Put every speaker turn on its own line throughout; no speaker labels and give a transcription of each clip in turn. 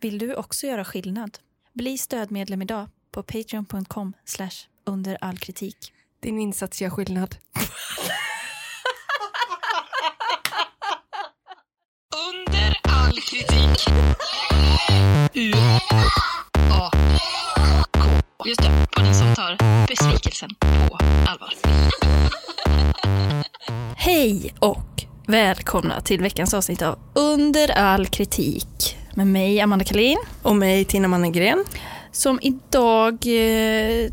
Vill du också göra skillnad? Bli stödmedlem idag på patreon.com under all kritik.
Din insats gör skillnad.
Under all kritik. U A K. Just det, på den som tar besvikelsen på allvar.
Hej och välkomna till veckans avsnitt av Under all kritik med mig Amanda Kalin
Och mig, Tina Mannegren.
som idag eh,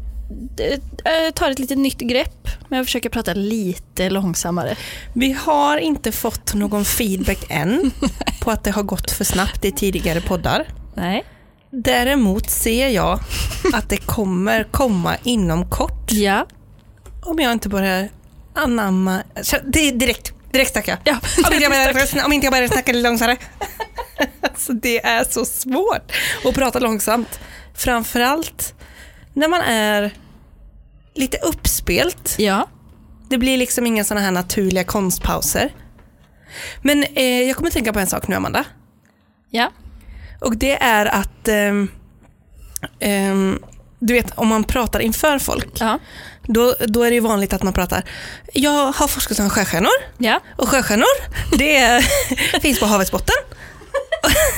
d- eh, tar ett lite nytt grepp men jag försöker prata lite långsammare.
Vi har inte fått någon feedback än på att det har gått för snabbt i tidigare poddar.
Nej.
Däremot ser jag att det kommer komma inom kort
Ja.
om jag inte börjar anamma... Så, Det är direkt, direkt snacka.
Ja,
Om inte jag börjar, om inte jag börjar snacka lite långsammare. Alltså, det är så svårt att prata långsamt. Framförallt när man är lite uppspelt.
ja.
Det blir liksom inga sådana här naturliga konstpauser. Men eh, jag kommer tänka på en sak nu Amanda.
Ja.
Och det är att ehm, ehm, du vet om man pratar inför folk.
Ja.
Då, då är det ju vanligt att man pratar. Jag har forskat om sjöstjärnor
Ja.
och sjöstjärnor det är- finns på havets botten.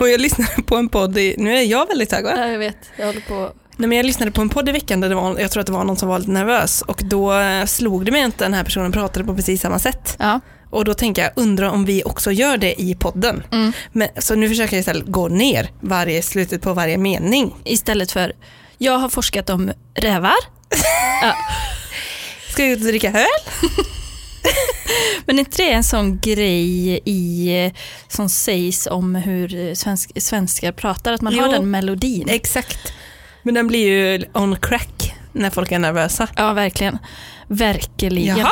och jag lyssnade på en podd, i, nu är jag väldigt hög va?
ja, jag vet. Jag håller på.
Nej, men jag lyssnade på en podd i veckan där det var, jag tror att det var någon som var lite nervös och då eh, slog det mig att den här personen pratade på precis samma sätt.
Ja.
Och då tänker jag, undrar om vi också gör det i podden.
Mm.
Men, så nu försöker jag istället gå ner varje slutet på varje mening.
Istället för jag har forskat om rävar
Ska jag ut och dricka öl?
Men är inte det en sån grej i, som sägs om hur svensk, svenskar pratar? Att man har
Jo.
den melodin?
Exakt. Men den blir ju on crack när folk är nervösa.
ja, verkligen. Verkligen.
Jaha,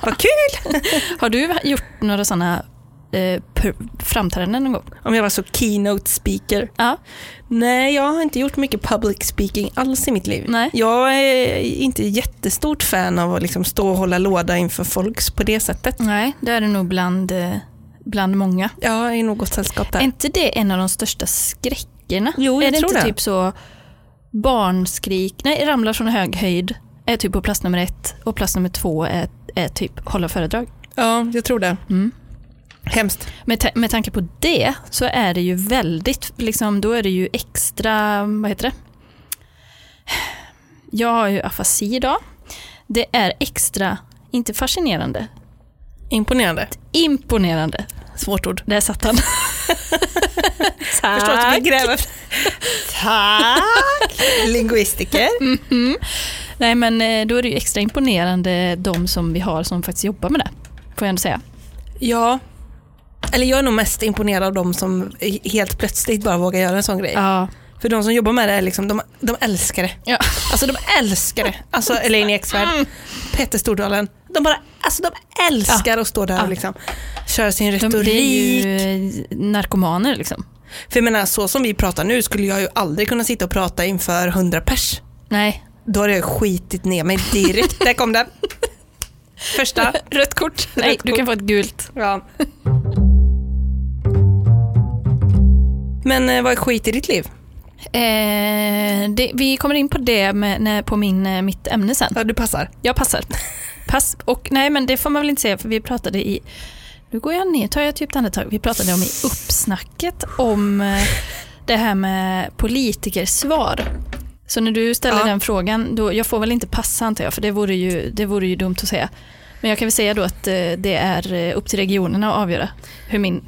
vad kul!
Har du gjort några sådana eh, pr- framträdanden någon gång?
Om jag var så keynote speaker.
Ja.
Nej, jag har inte gjort mycket public speaking alls i mitt liv.
Nej.
Jag är inte jättestort fan av att liksom stå och hålla låda inför folks på det sättet.
Nej, det är det nog bland, eh, bland många.
Jag är i något sällskap där.
Är inte det en av de största skräckerna?
Jo, jag
är det
tror
inte
det.
typ så barnskrik, nej ramlar från hög höjd är typ på plats nummer ett och plats nummer två är, är typ hålla föredrag.
Ja, jag tror det.
Mm.
Hemskt.
Med, ta- med tanke på det så är det ju väldigt, liksom, då är det ju extra, vad heter det? Jag har ju afasi idag. Det är extra, inte fascinerande,
Imponerande.
imponerande.
Svårt ord.
Där satt han.
Jag förstår att du vill gräva efter- Tack! Linguistiker.
Nej men eh, då är det ju extra imponerande de som vi har som faktiskt jobbar med det. Får jag ändå säga.
Ja. Eller jag är nog mest imponerad av de som helt plötsligt bara vågar göra en sån grej.
Ja.
För de som jobbar med det, är liksom, de, de älskar det.
ja.
Alltså de älskar det. Alltså
Mm.
Elaine Eksvärd, Petter Stordalen. De bara, alltså de älskar att stå där
Ja.
och liksom köra sin
De,
retorik.
det är ju eh, narkomaner liksom.
För jag menar, så som vi pratar nu skulle jag ju aldrig kunna sitta och prata inför 100 pers.
Nej.
Då hade jag skitit ner mig direkt. där kom den. Första.
Rött kort. Nej,
Rött
du
kort.
kan få ett gult.
Ja. Men eh, vad är skit i ditt liv?
Eh, det, vi kommer in på det med, när, på min, eh, mitt ämne sen.
Ja, du passar.
Jag passar. Pass. Och nej, men det får man väl inte säga för vi pratade i... Nu går jag ner, tar jag ett djupt andetag. Vi pratade om i uppsnacket om eh, det här med politikersvar. Så när du ställer
Ja.
den frågan, då, jag får väl inte passa antar jag, för det vore, ju, det vore ju dumt att säga. Men jag kan väl säga då att eh, det är eh, upp till regionerna att avgöra hur min,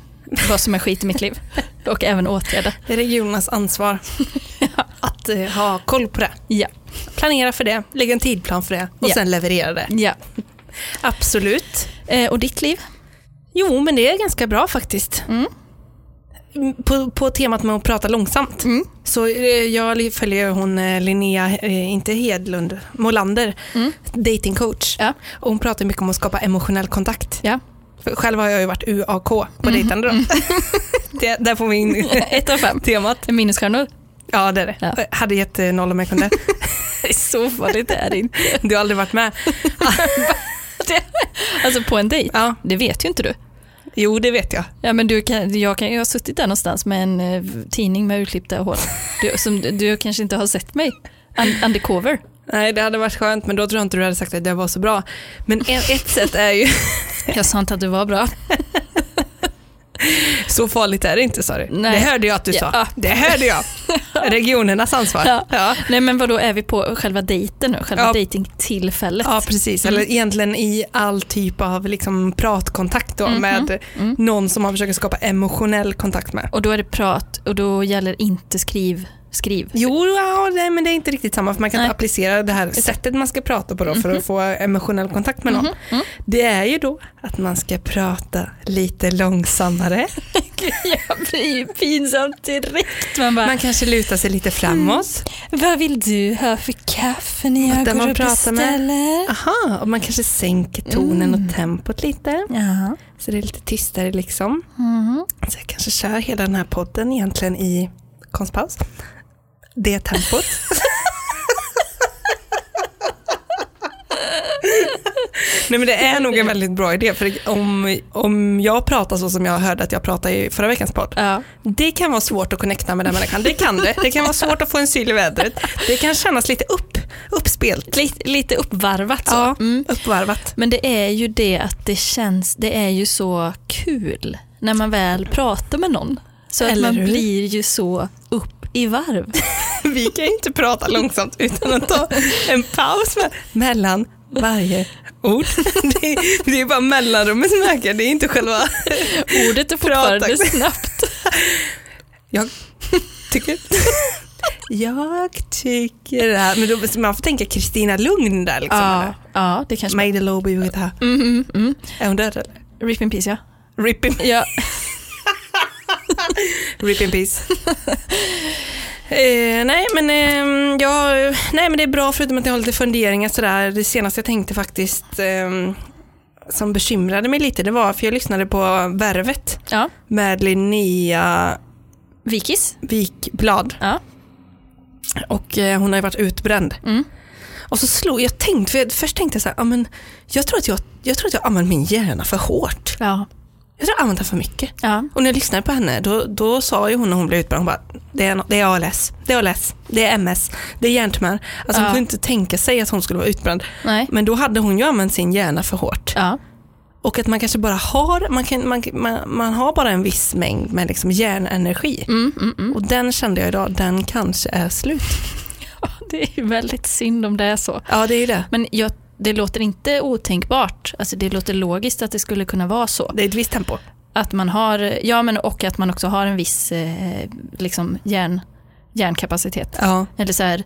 vad som är skit i mitt liv och även åtgärda.
Det är regionernas ansvar att eh, ha koll på det.
Ja.
Planera för det, lägga en tidplan för det och
Ja.
sen leverera det.
ja.
Absolut.
Eh, och ditt liv?
Jo, men det är ganska bra faktiskt.
Mm.
På, på temat med att prata långsamt.
Mm.
Så eh, jag följer hon eh, Linnea, eh, inte Hedlund, Molander,
Mm.
datingcoach.
Ja.
Och hon pratar mycket om att skapa emotionell kontakt.
ja. Mhm. Mm.
För själv har jag ju varit UAK på dejtande då. det, där får vi in
Ett av fem.
temat.
Minusstjärnor?
Ja, det är det.
Ja.
Jag Hade gett eh, noll om jag kunde.
Så farligt är det inte.
Du har aldrig varit med.
Alltså på en dejt?
Ja.
Det vet ju inte du.
Jo, det vet jag.
Ja, men du kan, jag, kan, jag har suttit där någonstans med en eh, tidning med urklippta hål. Du, som, du kanske inte har sett mig. Un, undercover.
Nej, det hade varit skönt, men då tror jag inte du hade sagt att det var så bra. Men en, ett sätt är ju,
Jag sa inte att du var bra.
så farligt är det inte sa du.
Nej.
Det hörde jag att du sa.
Ja.
Det hörde jag. Regionernas ansvar.
Ja.
Ja.
Nej men vad då är vi på själva dejten nu? Själva
Ja.
dejtingtillfället?
Ja, precis. Eller egentligen i all typ av liksom pratkontakt då, med någon som man försöker skapa emotionell kontakt med.
Mm. Och då är det prat och då gäller inte skriv, skriv.
Jo, ja, nej, men det är inte riktigt samma, för man kan
Nej.
inte applicera det här sättet man ska prata på då för att få emotionell kontakt med någon. Det är ju då att man ska prata lite långsammare.
Jag blir ju pinsamt direkt. Man bara,
Man kanske lutar sig lite framåt.
vad vill du ha för kaffe när jag
Den
går
man
och
pratar med.
beställer?
Aha, och man kanske sänker tonen och tempot lite,
Ja.
så det är lite tystare liksom.
Mm.
Så jag kanske kör hela den här podden egentligen i konstpaus. Det tempot. Nej men det är nog en väldigt bra idé för om, om jag pratar så som jag hörde att jag pratade i förra veckans podd.
Ja.
Det kan vara svårt att connecta med den människan, det kan det. Det kan vara svårt att få en syl i vädret. Det kan kännas lite upp, uppspelt,
Lite, lite uppvarvat så.
ja,
Mm.
uppvarvat.
Men det är ju det att det känns, det är ju så kul när man väl pratar med någon. Så
Eller
att man
hur?
blir ju så upp i varv.
Vi kan ju inte prata långsamt utan att ta en paus me- mellan varje ord. Det är, det är bara mellanrummet som ökar, det är inte själva...
Ordet är fortfarande
Prata.
snabbt.
Jag tycker... Jag tycker det här. Men då, man får tänka Kristina Lugn där liksom.
Ja, ja, det kanske man...
Maida Lobi och det här.
Mm, mm, mm.
Är hon död eller?
Rip in peace ja.
Rip in,
ja.
rip in peace. Eh, nej, men, ehm, jag, nej men det är bra förutom att jag har lite funderingar sådär. Det senaste jag tänkte faktiskt ehm, som bekymrade mig lite det var för jag lyssnade på Värvet
ja.
med Linnea
Vikis.
Wikblad
Ja.
och eh, hon har ju varit utbränd.
Mm.
Och så slog jag tänkte, för jag, först tänkte jag så här, ja, men jag tror att jag, jag tror att jag använder min hjärna för hårt.
Ja.
Jag tror jag använder den för mycket.
ja.
Och när jag lyssnade på henne, då, då sa ju hon när hon blev utbränd, hon bara, det är, nå- det är ALS, det är ALS, det är MS, det är hjärntumör. Alltså hon
Ja.
kunde inte tänka sig att hon skulle vara utbränd.
Nej.
Men då hade hon ju använt sin hjärna för hårt.
Ja.
Och att man kanske bara har, man, kan, man, man, man har bara en viss mängd med liksom hjärnenergi.
Mm, mm, mm.
Och den kände jag idag, den kanske är slut.
Det är ju väldigt synd om det är så.
Ja det är ju det.
Men jag, det låter inte otänkbart. Alltså det låter logiskt att det skulle kunna vara så.
Det är ett visst tempo.
Att man har, ja men och att man också har en viss eh, liksom hjärn, hjärnkapacitet.
Ja.
Eller så här,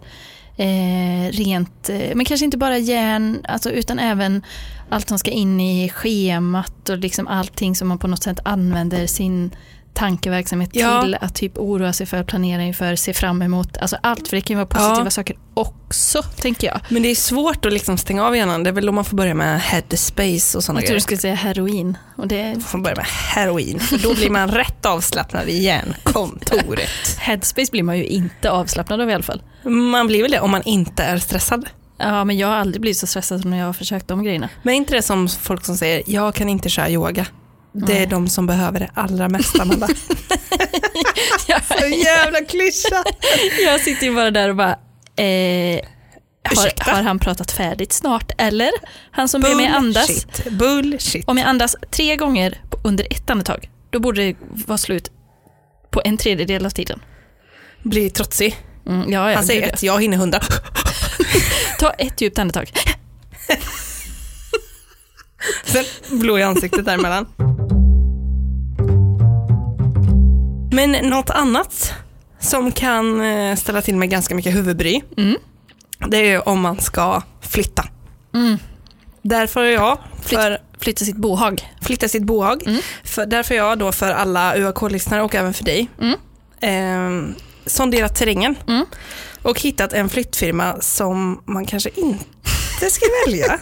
eh, rent, eh, men kanske inte bara hjärn, alltså, utan även allt som ska in i schemat och liksom allting som man på något sätt använder sin tankeverksamhet
Ja.
till att typ oroa sig för, planera inför, se fram emot, alltså allt för det kan ju vara positiva
Ja. Oh
saker också tänker jag.
Men det är svårt att liksom stänga av hjärnan, det är väl då man får börja med headspace och sådana
Jag tror du
grejer.
skulle säga heroin och det
Man får börja med heroin, för då blir man rätt avslappnad i hjärnkontoret.
Headspace blir man ju inte avslappnad av i alla fall.
Man blir väl det om man inte är stressad.
Ja, men jag har aldrig blivit så stressad som när jag har försökt de grejerna.
Men inte det som folk som säger, jag kan inte köra yoga. Det är
Nej.
de som behöver det allra mest Amanda.
Jag,
Så jävla klyscha.
jag sitter ju bara där och bara, eh,
Ursäkta?
har, har han pratat färdigt snart? Eller? Han som ber mig andas.
Bullshit. Bullshit.
Om jag andas tre gånger på- under ett andetag, då borde det vara slut på en tredjedel av tiden.
Blir trotsig.
Mm, ja, ja,
Han
gud,
säger
ja.
ett, jag hinner hundra.
Ta ett djupt andetag.
Sen blå i ansiktet däremellan. Men något annat som kan eh, ställa till med ganska mycket huvudbry,
Mm.
det är ju om man ska flytta.
Mm.
Därför har jag, för
Flytta sitt bohag.
flytta sitt bohag,
Mm.
för, därför har jag då för alla UAK-lyssnare och även för dig, eh, sonderat terrängen
Mm.
och hittat en flyttfirma som man kanske inte ska välja.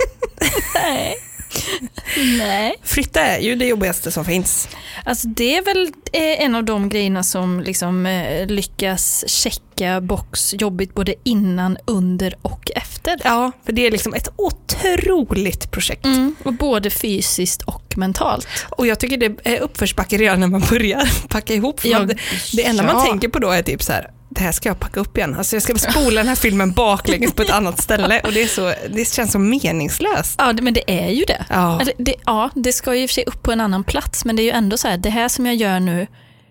Nej. Nej.
Flytta är ju det jobbigaste som finns.
Alltså det är väl eh, en av de grejerna som liksom eh, lyckas checka box jobbigt både innan, under och efter.
Ja, för det är liksom ett otroligt projekt.
Mm, och både fysiskt och mentalt.
Och jag tycker det är uppförsbacke redan när man börjar packa ihop. För
Ja,
man, det enda
ja.
man tänker på då är typ så här, det här ska jag packa upp igen. Alltså jag ska spola den här filmen baklänges på ett annat ställe och det, är så, det känns så meningslöst.
Ja, det- men det är ju det.
Ja.
Alltså, det, ja, det ska ju i och för sig upp på en annan plats, men det är ju ändå så här, det här som jag gör nu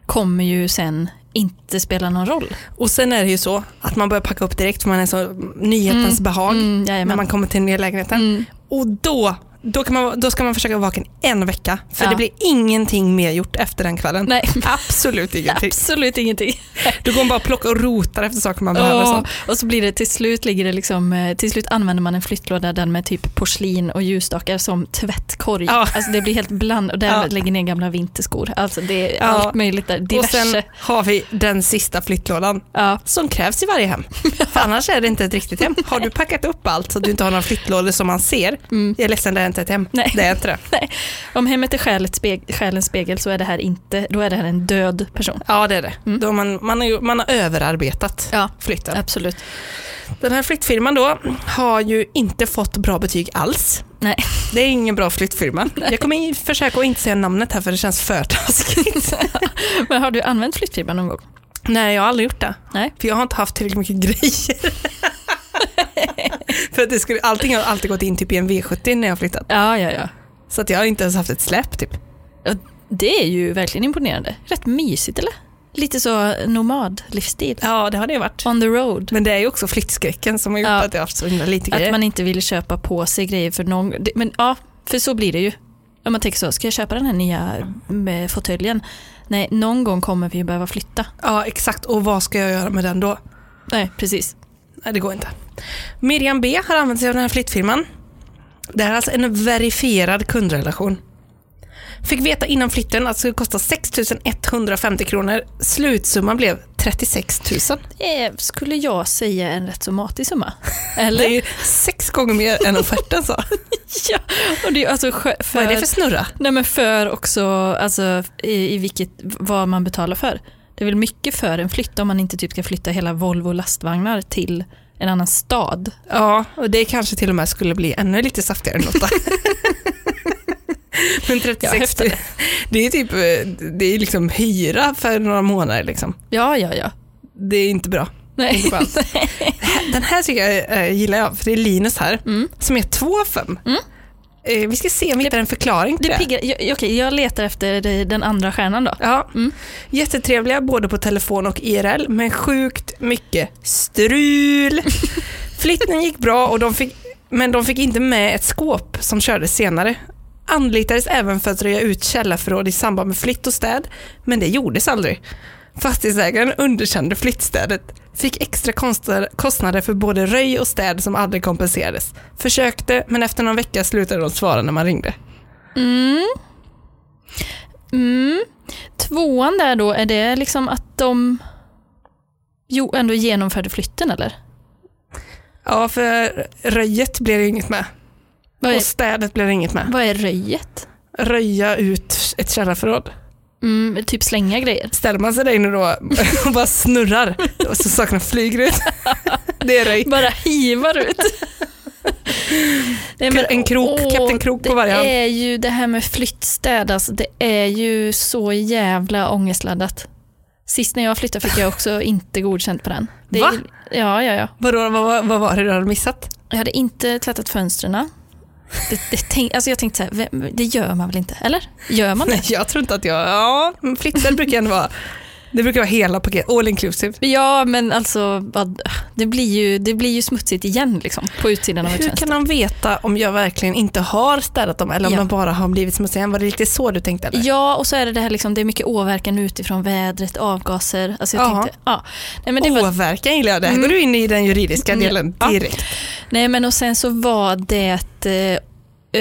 kommer ju sen inte spela någon roll.
Och sen är det ju så att man börjar packa upp direkt för man är så nyhetens behag
Mm,
när
jajamän.
man kommer till den nya lägenheten. Och då, då, kan man, då ska man försöka vara vaken en vecka för
Ja.
det blir ingenting mer gjort efter den kvällen.
Nej,
Absolut ingenting.
absolut ingenting.
Då går man bara och plockar och rotar efter saker man behöver. och
Åh,
sånt.
och så blir det till slut, ligger det liksom, eh, till slut använder man en flyttlåda den med typ porslin och ljusstakar som tvättkorg.
Ja.
Alltså det blir helt bland och där
Ja.
lägger ner gamla vinterskor. Alltså det är
Ja.
allt möjligt där,
Och
diverse.
sen har vi den sista flyttlådan
ja.
som krävs i varje hem. För annars är det inte ett riktigt hem. Har du packat upp allt så att du inte har några flyttlådor som man ser,
Mm.
jag är ledsen det är inte ett hem.
Nej.
Det är inte det.
Nej. Om hemmet är själens spegel, själens spegel så är det här inte, då är det här en död person.
Ja det är det.
Mm.
Då man, man, har ju, man har överarbetat
Ja,
flytten.
absolut.
Den här flyttfirman då har ju inte fått bra betyg alls.
Nej.
Det är ingen bra flyttfirma. Jag kommer in- försöka att inte säga namnet här för det känns för taskigt.
Men har du använt flyttfibrer någon gång?
Nej, jag har aldrig gjort det.
Nej.
För jag har inte haft tillräckligt mycket grejer. för att det skulle, allting har alltid gått in typ i en V70 när jag har flyttat.
Ja, ja, ja.
Så att jag har inte ens haft ett släp typ.
Ja, Det är ju verkligen imponerande. Rätt mysigt eller? Lite så nomadlivsstil.
Ja, det har det varit.
On the road.
Men det är ju också flyttskräcken som har gjort
Ja.
att jag har haft så himla lite grejer.
Att man inte vill köpa på sig grejer för någon det- Men ja, för så blir det ju. Om man tänker så, ska jag köpa den här nya mm, fåtöljen? Nej, någon gång kommer vi ju behöva flytta.
Ja, exakt. Och vad ska jag göra med den då?
Nej, precis.
Nej, det går inte. Miriam B har använt sig av den här flyttfirman. Det här är alltså en verifierad kundrelation. Fick veta innan flytten att det skulle kosta 6 150 kronor. Slutsumman blev 36 000.
Eh, skulle jag säga en rätt så matig summa. Eller?
Det är ju sex gånger mer än offerten sa.
ja, och det är ju alltså skö-
Vad är det för snurra?
Nej men för också alltså, i, i vilket, vad man betalar för. Det är väl mycket för en flytt om man inte typ ska flytta hela Volvo lastvagnar till en annan stad.
Ja, och det kanske till och med skulle bli ännu lite saftigare än Lotta. Men 36 000, det är typ eh, det är liksom hyra för några månader. Liksom.
Ja, ja, ja.
Det är inte bra.
Nej.
Inte bra alls. Den här tycker jag, eh, gillar jag, för det är Linus här, som är 2,5. Eh, vi ska se om vi hittar en förklaring till
Det
det.
piggar, jag, jag- okej, jag letar efter det- den andra stjärnan då.
Ja. Jättetrevliga både på telefon och IRL, men sjukt mycket strul. Flytten gick bra, och de fick, men de fick inte med ett skåp som kördes senare. Anlitades även för att röja ut källarförråd i samband med flytt och städ, men det gjordes aldrig. Fastighetsägaren underkände flyttstädet, fick extra konstnader- kostnader för både röj och städ som aldrig kompenserades. Försökte, men efter någon vecka slutade de svara när man ringde.
Mm. Tvåan där då, är det liksom att de jo, ändå genomförde flytten eller?
Ja, för röjet blev det inget med.
Vad är,
Och städet blev det inget med.
vad är röjet?
röja ut ett källarförråd.
Mm, typ slänga grejer.
Ställer man sig där inne då och bara snurrar och så sakerna flyger ut. Det är röj.
Bara hivar ut. Nej,
En krok, Kapten Krok på varje hand.
Det är ju det här med flyttstäd, alltså, det är ju så jävla ångestladdat. Sist när jag flyttade fick jag också inte godkänt på den. Det är
Va?
ju- Ja, ja, ja.
Vadå, vad, vad, vad var det du hade missat?
Jag hade inte tvättat fönstren. Det, det tänk, alltså jag tänkte så här, vem- det gör man väl inte? Eller? Gör man det?
Nej, jag tror inte att jag... Ja, men flyttställ brukar ändå vara... Det brukar vara hela paket, all inclusive.
Ja, men alltså vad- det blir ju, det blir ju smutsigt igen liksom, på utsidan av ett
Hur
fönster.
kan de veta om jag verkligen inte har städat dem eller om
Ja.
de bara har blivit smutsiga igen? Var det lite så du tänkte? Eller?
Ja, och så är det det här liksom, det är mycket åverkan utifrån vädret, avgaser. Alltså jag
Ja.
tänkte, ja. Nej, men det var
Åverkan gillar jag, där går du in i den juridiska
Mm.
delen
Ja.
direkt.
Nej men och sen så var det eh,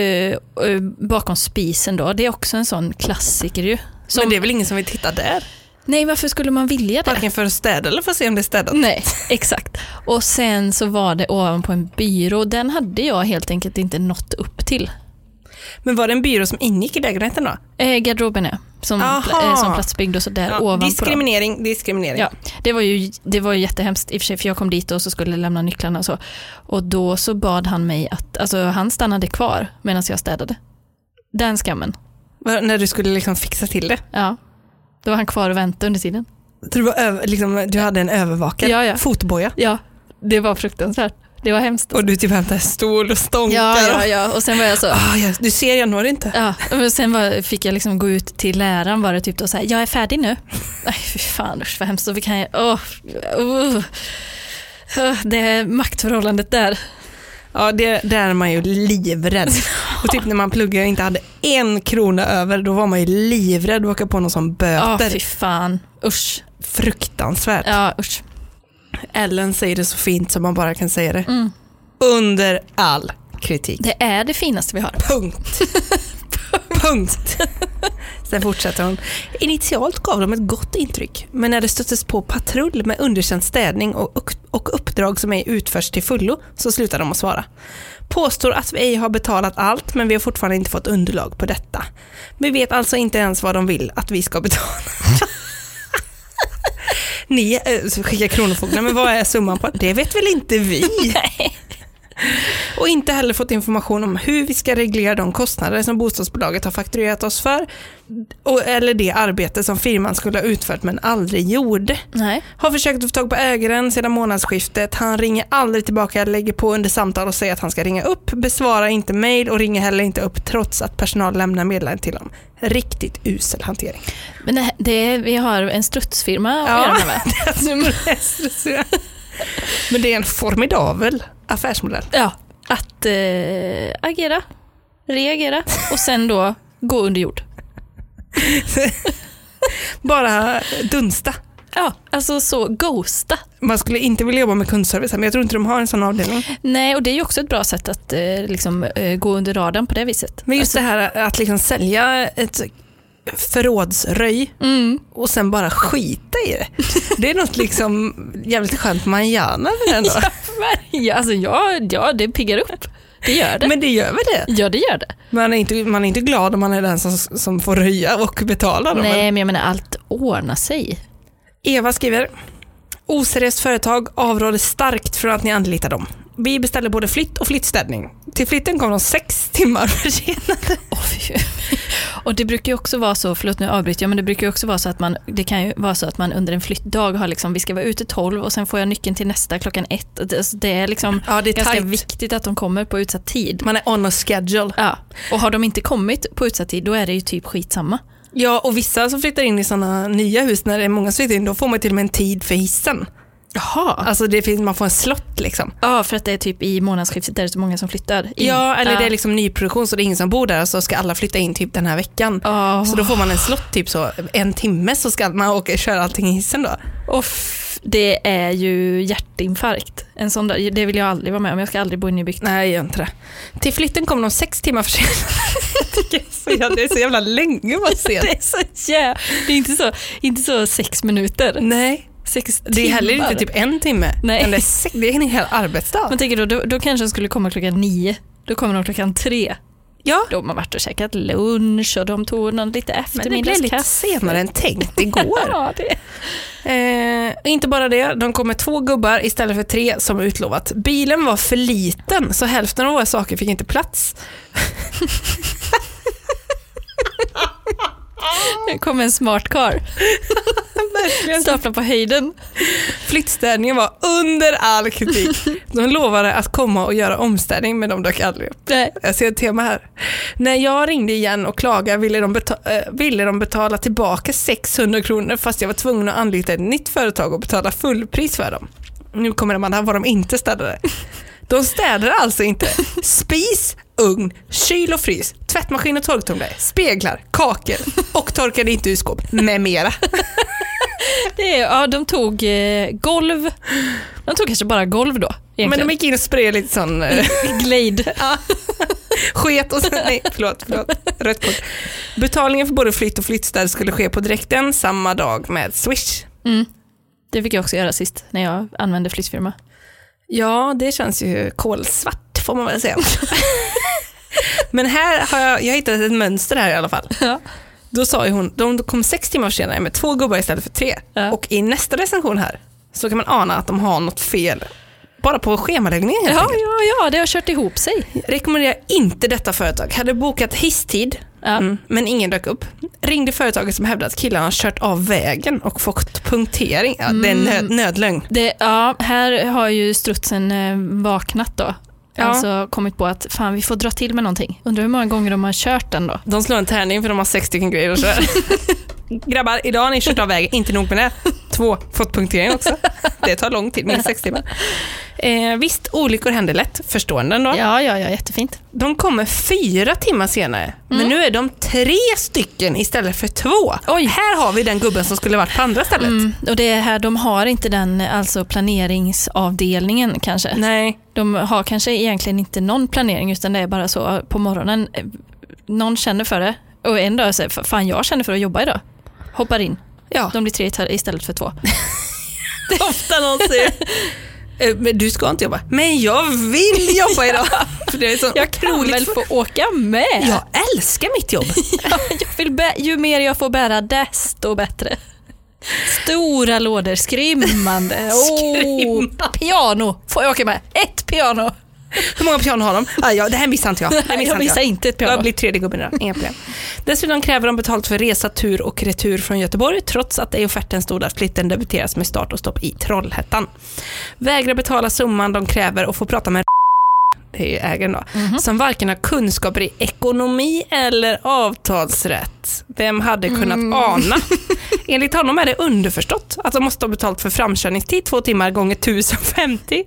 eh, eh, bakom spisen då. Det är också en sån klassiker ju. Som,
Men det är väl ingen som vill titta där?
Nej varför skulle man vilja det?
Varken för att städa eller för att se om det är städat.
Nej, exakt. Och sen så var det ovanpå en byrå. Den hade jag helt enkelt inte nått upp till.
Men var det en byrå som ingick i lägenheten då?
Eh, garderoben är som,
Aha.
eh, som platsbyggd och så där ovanpå. dem.
diskriminering, diskriminering.
Ja, det var ju det var ju jättehemskt i och för sig, för jag kom dit och så skulle lämna nycklarna och så. Och då så bad han mig att, alltså han stannade kvar medan jag städade. Den skammen.
Var- När du skulle liksom fixa till det.
Ja. Då var han kvar och väntade under tiden.
Så Du, var över, liksom, du hade en övervakad
Ja, ja.
fotboja.
Ja, det var fruktansvärt. Det var hemskt.
Och du typ hämtade en stol och stånkar.
Ja, ja,
och,
ja. Och sen var jag så,
Ah, jag- du ser, jag når inte.
ja. Men sen var, fick jag liksom gå ut till läraren bara typ och säga, jag är färdig nu. Nej, fy fan usch vad hemskt. Så fick han, ju- åh, åh. Åh, det maktförhållandet där.
Ja, det, där är man ju livrädd. Och typ när man pluggar och inte hade en krona över, då var man ju livrädd att åka på någon som
Ja,
böter.
fy fan. Usch.
Fruktansvärt.
Ja, usch.
Ellen säger det så fint som man bara kan säga det.
Mm.
Under all kritik.
Det är det finaste vi har.
Punkt. Punkt. Sen fortsätter hon. Initialt gav de ett gott intryck, men när det stöttes på patrull med underkänd städning och, uk- och uppdrag som ej utförs till fullo så slutade de att svara. Påstår att vi ej har betalat allt, men vi har fortfarande inte fått underlag på detta. Vi vet alltså inte ens vad de vill att vi ska betala. Ni äh, skickar Kronofogden, men vad är summan på? Det vet väl inte vi? Och inte heller fått information om hur vi ska reglera de kostnader som bostadsbolaget har fakturerat oss för. Och, eller det arbete som firman skulle ha utfört men aldrig gjorde.
Nej.
Har försökt att få tag på ägaren sedan månadsskiftet. Han ringer aldrig tillbaka, lägger på under samtal och säger att han ska ringa upp. Besvarar inte mejl och ringer heller inte upp trots att personal lämnar meddelanden till honom. Riktigt usel hantering.
Men det, det, vi har en strutsfirma att
Ja.
göra med. Nu-
men det är en formidabel affärsmodell.
ja, att eh, agera, reagera och sen då gå under jord.
Bara dunsta.
Ja, alltså så ghosta.
Man skulle inte vilja jobba med kundservice här, men jag tror inte de har en sån avdelning.
Nej, och det är ju också ett bra sätt att eh, liksom, eh, gå under radarn på det viset.
Men just det här att liksom sälja ett förrådsröj
Mm.
och sen bara skita i det. Det är något liksom jävligt skönt manjana med den då.
Ja, alltså, ja, ja, det piggar upp. Det gör det.
Men det gör väl det?
Ja, det gör det.
Man är inte, man är inte glad om man är den som, som får röja och betala. Då, men-
Nej, men jag menar allt ordnar sig.
Eva skriver, oseriöst företag avråder starkt från att ni anlitar dem. Vi beställde både flytt och flyttstädning. Till flytten kom de sex timmar försenade.
Åh, fy. Och det brukar ju också vara så, förlåt nu avbryter jag, men det brukar ju också vara så att man, det kan ju vara så att man under en flyttdag har liksom, vi ska vara ute 12 och sen får jag nyckeln till nästa klockan ett. Och Det, alltså, det är liksom
Ja, det är
ganska
tajt.
viktigt att de kommer på utsatt tid.
Man är on a schedule.
Ja. Och har de inte kommit på utsatt tid, då är det ju typ skitsamma.
Ja, och vissa som flyttar in i sådana nya hus, när det är många som flyttar in, då får man till och med en tid för hissen.
Jaha.
Alltså det finns, man får en slott liksom.
Ja, för att det är typ i månadsskiftet där det är så många som flyttar. In.
Ja, eller det är liksom nyproduktion så det är ingen som bor där så ska alla flytta in typ den här veckan.
Åh.
Så då får man en slott typ så en timme så ska man åka och köra allting i hissen då.
Och f- det är ju hjärtinfarkt. En sån där, det vill jag aldrig vara med om, jag ska aldrig bo i nybyggt.
Nej, jag gör inte det. Till flytten kom de sex timmar försenade. Jag tycker så jävla- det är så jävla länge man ser.
Det är så jävla... Det är inte så, inte så sex minuter.
Nej,
Sex timmar.
Mm. det är heller inte typ en timme.
Nej.
utan Det är, sex, det är en hel arbetsdag.
Man tänker då, då, då kanske de skulle komma klockan nio. Då kommer de klockan tre.
ja,
De har varit och käkat lunch och de tog någon lite
men det blev
eftermiddagskaffe.
lite senare än tänkt igår.
Ja, det.
Eh, inte bara det, de kom med två gubbar istället för tre som utlovat. Bilen var för liten så hälften av våra saker fick inte plats.
Nu kom en smart karl. Staplar på höjden.
Flyttstädningen var under all kritik. De lovade att komma och göra omstädning men de dök aldrig upp.
Nej.
Jag ser ett tema här. När jag ringde igen och klagade ville de, beta- eh, ville de betala tillbaka 600 kronor fast jag var tvungen att anlita ett nytt företag och betala fullpris för dem. Nu kommer man här vad de inte städade. De städade alltså inte spis, ugn, kyl och frys, tvättmaskin och torktumlare, speglar, kakel och torkade inte ur skåp med mera.
Det är, ja, de tog eh, golv. De tog kanske bara golv då.
Men
Egentligen.
de gick in och spred lite sån eh,
Men de... Glade.
Sket och sen, nej förlåt, förlåt. Rött kort. Betalningen för både flytt och flyttstäd skulle ske på direkten samma dag med Swish.
Mm. Det fick jag också göra sist när jag använde flyttfirma.
Ja, det känns ju kolsvart får man väl säga. Men här har jag, jag har hittat ett mönster här i alla fall.
Ja.
Då sa ju hon, de kom sex timmar senare med två gubbar istället för tre.
Ja.
Och i nästa recension här så kan man ana att de har något fel. Bara på schemaläggningen helt
Ja,
enkelt.
ja, ja, det har kört ihop sig.
Rekommenderar inte detta företag. Hade bokat hisstid,
Ja.
mm, men ingen dök upp. Ringde företaget som hävdade att killarna har kört av vägen och fått punktering. Ja, Det är
Mm.
en nöd, nödlögn.
Det, ja, här har ju strutsen eh, vaknat då.
Ja.
Alltså kommit på att fan vi får dra till med någonting. Undrar hur många gånger de har kört den då.
De slår en tärning för de har sex stycken grejer och sådär. Grabbar, idag har ni kört av vägen. Inte nog med det. Två, fått punktering också. Det tar lång tid, minst sex timmar. Eh, visst, olyckor händer lätt. Förstående ändå.
Ja, ja, ja, jättefint.
De kommer fyra timmar senare, men nu är de tre stycken istället för två.
Mm. Oj.
Här har vi den gubben som skulle varit på andra stället.
Mm, och det är här, de har inte den alltså planeringsavdelningen kanske.
Nej.
De har kanske egentligen inte någon planering utan det är bara så på morgonen, eh, någon känner för det och en dag säger fan jag känner för att jobba idag. Hoppar in.
Ja.
De blir tre tar- istället för två.
Det är ofta någon säger "Eh, men du ska inte jobba. Men jag vill jobba idag. För det är så
Jag kan väl få åka med?
jag älskar mitt jobb.
Ja, jag vill bä- ju mer jag får bära desto bättre. Stora lådor, skrymmande. Oh, piano får jag åka med. Ett piano.
Hur många pianon har de? Ah, ja, det här missar inte jag. Det här
Nej,
missar
jag
inte
missar
jag.
inte ett
Jag
piano.
blir tredje gubben idag. Inga problem. Dessutom kräver de betalt för resa, tur och retur från Göteborg trots att det i offerten stod att flytten debiteras med start och stopp i Trollhättan. Vägrar betala summan de kräver och får prata med det är ju ägaren då, som varken har kunskaper i ekonomi eller avtalsrätt. Vem hade kunnat ana? Enligt honom är det underförstått att de måste ha betalt för framkörningstid två timmar gånger 1050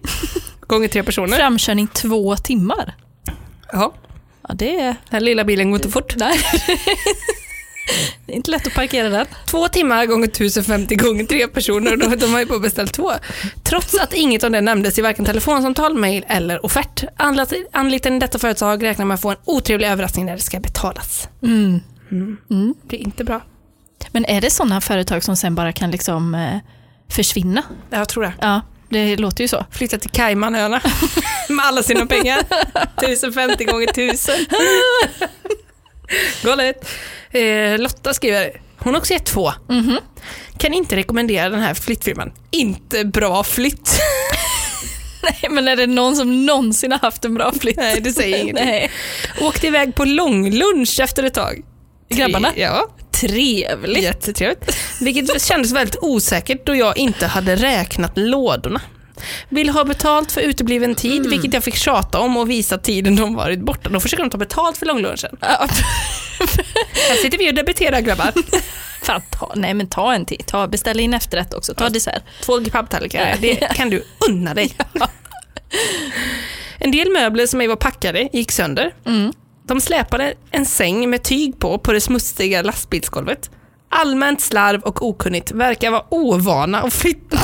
gånger tre personer.
Framkörning två timmar.
Ja.
Ja, det är...
Den här lilla bilen går inte fort.
Nej. Det är inte lätt att parkera den.
Två timmar gånger 1050 gånger tre personer, då, de har ju bara beställt två. Trots att inget av det nämndes i varken telefonsamtal, mejl eller offert. Anla- Anlitaren i detta företag räknar med att få en otrevlig överraskning när det ska betalas. Det är inte bra.
Mm. Men är det sådana företag som sen bara kan liksom eh, försvinna?
Jag tror det.
Ja, det låter ju så.
Flytta till Caymanöarna med alla sina pengar. 1050 gånger 1000. Galet. Eh, Lotta skriver, hon har också gett två. Kan inte rekommendera den här flyttfirman. Inte bra flytt.
Nej, men är det någon som någonsin har haft en bra flytt?
Nej, det säger ingenting.
Nej.
Åkte iväg på långlunch efter ett tag.
Grabbarna?
Ja,
Trevligt.
jättetrevligt. Vilket kändes väldigt osäkert då jag inte hade räknat lådorna. Vill ha betalt för utebliven tid,
Mm.
vilket jag fick tjata om och visa tiden de varit borta. Då försöker de ta betalt för långlunchen.
Ja,
Här sitter vi och debiterar grabbar.
Fan, ta, nej men ta en till. Ta, beställ in efterrätt också. Ta dessert.
Två kebabtallrikar, det kan du unna dig. En del möbler som ej var packade gick sönder. De släpade en säng med tyg på, på det smutsiga lastbilsgolvet. Allmänt slarv och okunnigt, verkar vara ovana att flytta.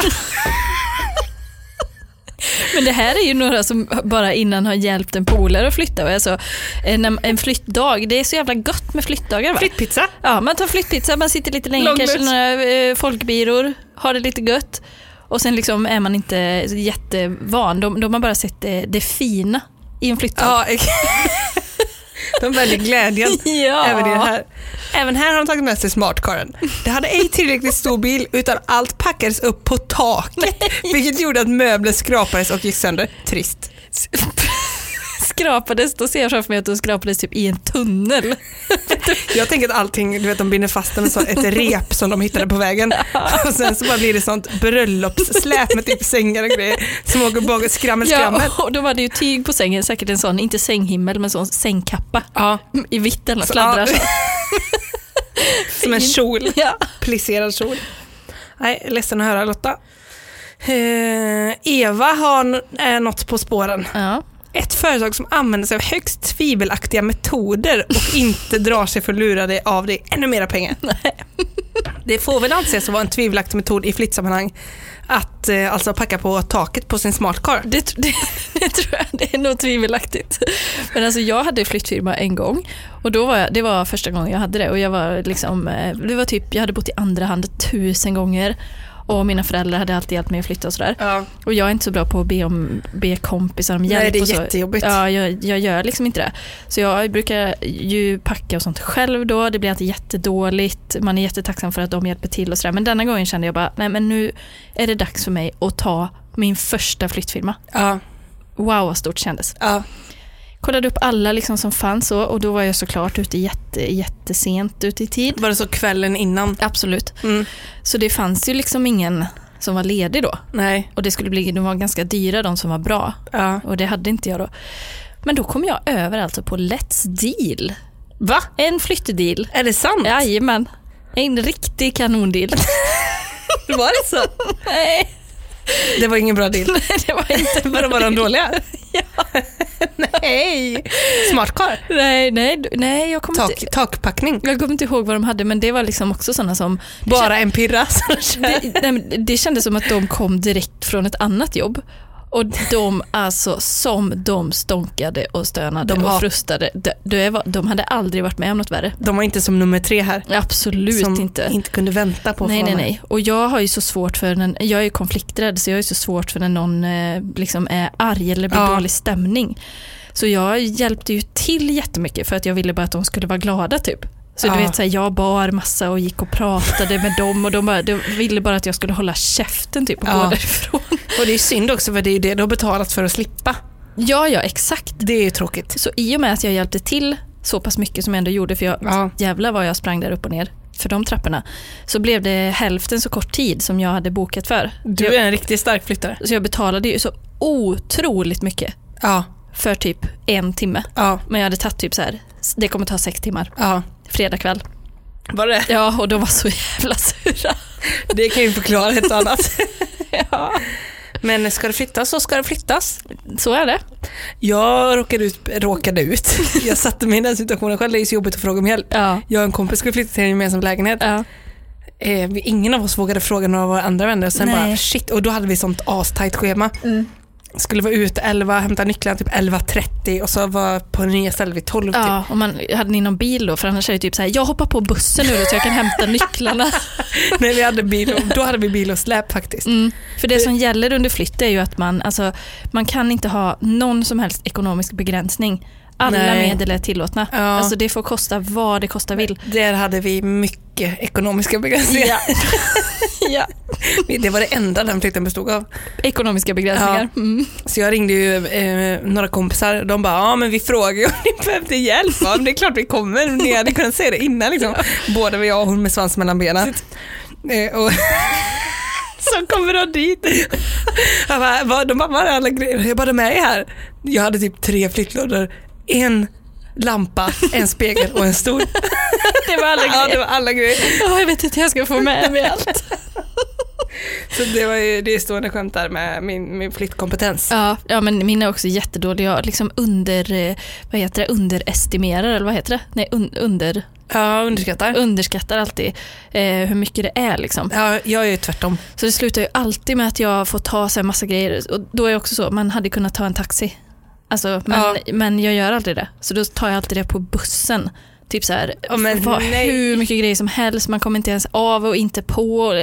Men det här är ju några som bara innan har hjälpt en polare att flytta. Och Alltså, en, en flyttdag, det är så jävla gött med flyttdagar va?
Flyttpizza.
Ja, man tar flyttpizza, man sitter lite länge,
Lång
kanske
lunch.
några eh, folkbiror, har det lite gött. Och sen liksom är man inte jättevan, de, de har bara sett det, det fina i en flyttdag.
Ja, de väljer glädjen
Ja.
över det här. Även här har de tagit med sig smartkaren. Det hade ej tillräckligt stor bil utan allt packades upp på taket vilket gjorde att möbler skrapades och gick sönder. Trist.
Skrapades, då ser jag framför mig att de skrapades typ i en tunnel.
Jag tänker att allting, du vet de binder fast den med så ett rep som de hittade på vägen. Och sen så bara blir det sånt bröllopssläp med typ sängar och grejer som åker bakåt, skrammel, skrammel.
Ja, och då var det ju tyg på sängen, säkert en sån, inte sänghimmel, men sån sängkappa.
Ja.
I vitt eller något,
Så,
fladdrar
ja.
så.
Som en kjol,
Ja.
plisserad kjol. Nej, ledsen att höra Lotta. Eh, Eva har är något på spåren.
ja.
Ett företag som använder sig av högst tvivelaktiga metoder och inte drar sig för att lura dig av dig ännu mera pengar. Det får väl anses vara en tvivelaktig metod i flyttsammanhang att eh, alltså packa på taket på sin smartcar.
Det, tr- det, det tror jag, det är nog tvivelaktigt. Men alltså jag hade flyttfirma en gång och då var jag, det var första gången jag hade det och jag var liksom, eh, det var typ, jag hade bott i andra hand tusen gånger och mina föräldrar hade alltid hjälpt mig att flytta och sådär.
Ja.
Och jag är inte så bra på att be, om, be kompisar om hjälp.
Nej, det är
och så.
jättejobbigt.
Ja, jag, jag gör liksom inte det. Så jag brukar ju packa och sånt själv då. Det blir alltid jättedåligt. Man är jättetacksam för att de hjälper till och sådär. Men denna gången kände jag bara, nej men nu är det dags för mig att ta min första flyttfirma.
Ja.
Wow vad stort kändes.
Ja.
Kollade upp alla liksom som fanns och, och då var jag såklart ute jätte, jättesent ute i tid.
Var det så kvällen innan?
Absolut.
Mm.
Så det fanns ju liksom ingen som var ledig då.
Nej.
Och det skulle bli, de var ganska dyra de som var bra.
Ja.
Och det hade inte jag då. Men då kom jag över alltså på Let's Deal.
Va?
En flyttdeal.
Är det sant?
Jajamän. En riktig kanondeal.
Var det så?
Nej,
Det var ingen bra deal.
det var inte
Vadå, var de dåliga? Nej. Smart karl.
Nej, nej, du- nej jag, kommer
Tak,
inte,
takpackning.
jag kommer inte ihåg vad de hade men det var liksom också sådana som...
Bara en pirra som kör.
Det, nej, men det kändes som att de kom direkt från ett annat jobb. Och de alltså som de stonkade och stönade
De
och
har-
frustade. De, det var, de hade aldrig varit med om något värre.
De var inte som nummer tre här.
Absolut
som
inte.
inte kunde vänta på att
Nej,
få
nej,
vara
nej. Och jag har ju så svårt för, när, jag är ju konflikträdd så jag är ju så svårt för när någon eh, liksom är arg eller blir
Ja.
dålig stämning. Så jag hjälpte ju till jättemycket för att jag ville bara att de skulle vara glada typ. Så
Ja.
du vet, så här, jag bar massa och gick och pratade med dem och de, bara, de ville bara att jag skulle hålla käften typ och
Ja.
gå därifrån.
med. Och det är synd också för det är ju det du har betalat för att slippa.
Ja, ja, exakt.
Det är ju tråkigt.
Så i och med att jag hjälpte till så pass mycket som jag ändå gjorde, för jag,
Ja.
jävlar vad jag sprang där upp och ner för de trapporna, så blev det hälften så kort tid som jag hade bokat för.
Du är en riktigt stark flyttare.
Så jag betalade ju så otroligt mycket
Ja,
för typ en timme.
ja,
Men jag hade tagit typ så här, det kommer ta sex timmar,
ja.
fredag kväll.
Var det?
Ja, och de var så jävla sura.
Det kan ju förklara ett och annat.
Ja.
Men ska det flyttas så ska det flyttas.
Så är det.
Jag råkade ut, råkade ut. Jag satte mig i den situationen själv. Det är så jobbigt att fråga om hjälp.
Ja.
Jag och en kompis skulle flytta till en gemensam lägenhet.
Ja.
Eh, vi- ingen av oss vågade fråga några av våra andra vänner. Och sen
Nej. Mm.
bara shit. Och då hade vi sånt astajt schema. Skulle vara ute 11, hämta nycklarna typ 11.30 och så var på nya stället vid 12. Typ.
ja, och man, hade ni någon bil då? För annars är det typ så här, jag hoppar på bussen nu då så jag kan hämta nycklarna.
Nej, vi hade bil och, då hade vi bil och släp faktiskt.
Mm. För det som gäller under flytt är ju att man, alltså, man kan inte ha någon som helst ekonomisk begränsning. Alla
Nej.
medel är tillåtna.
Ja.
Alltså det får kosta vad det kosta vill.
Där hade vi mycket ekonomiska begränsningar.
ja.
Det var det enda den flykten bestod av.
Ekonomiska begränsningar. Mm.
Så jag ringde ju eh, några kompisar. De bara, ja men vi frågade ju om ni behövde hjälp. Ja, men det är klart vi kommer. Ni hade kunnat säga det innan liksom. Både vi och hon med svans mellan benen. Eh, och så kommer de dit. Jag bara, "Vad- de bara, var är alla grejer? Jag bara, de är här. Jag hade typ tre flyttlådor. En lampa, en spegel och en stol.
Det var alla
Ja,
grejer.
det var alla grejer.
Ja, jag vet inte hur jag ska få med mig allt.
Så det var ju det är stående skämt där med min, min flyttkompetens.
Ja, ja men min är också jättedålig. Jag liksom under, eh, vad heter det, underestimerar eller vad heter det? Nej, un, under,
Ja, underskattar.
underskattar alltid eh, hur mycket det är liksom.
Ja, jag är ju tvärtom.
Så det slutar ju alltid med att jag får ta så här massa grejer. Och då är jag också så, man hade kunnat ta en taxi. Alltså, men,
Ja.
men jag gör aldrig det. Så då tar jag alltid det på bussen. Typ så här,
Ja, men
vad-
nej.
hur mycket grejer som helst, man kommer inte ens av och inte på.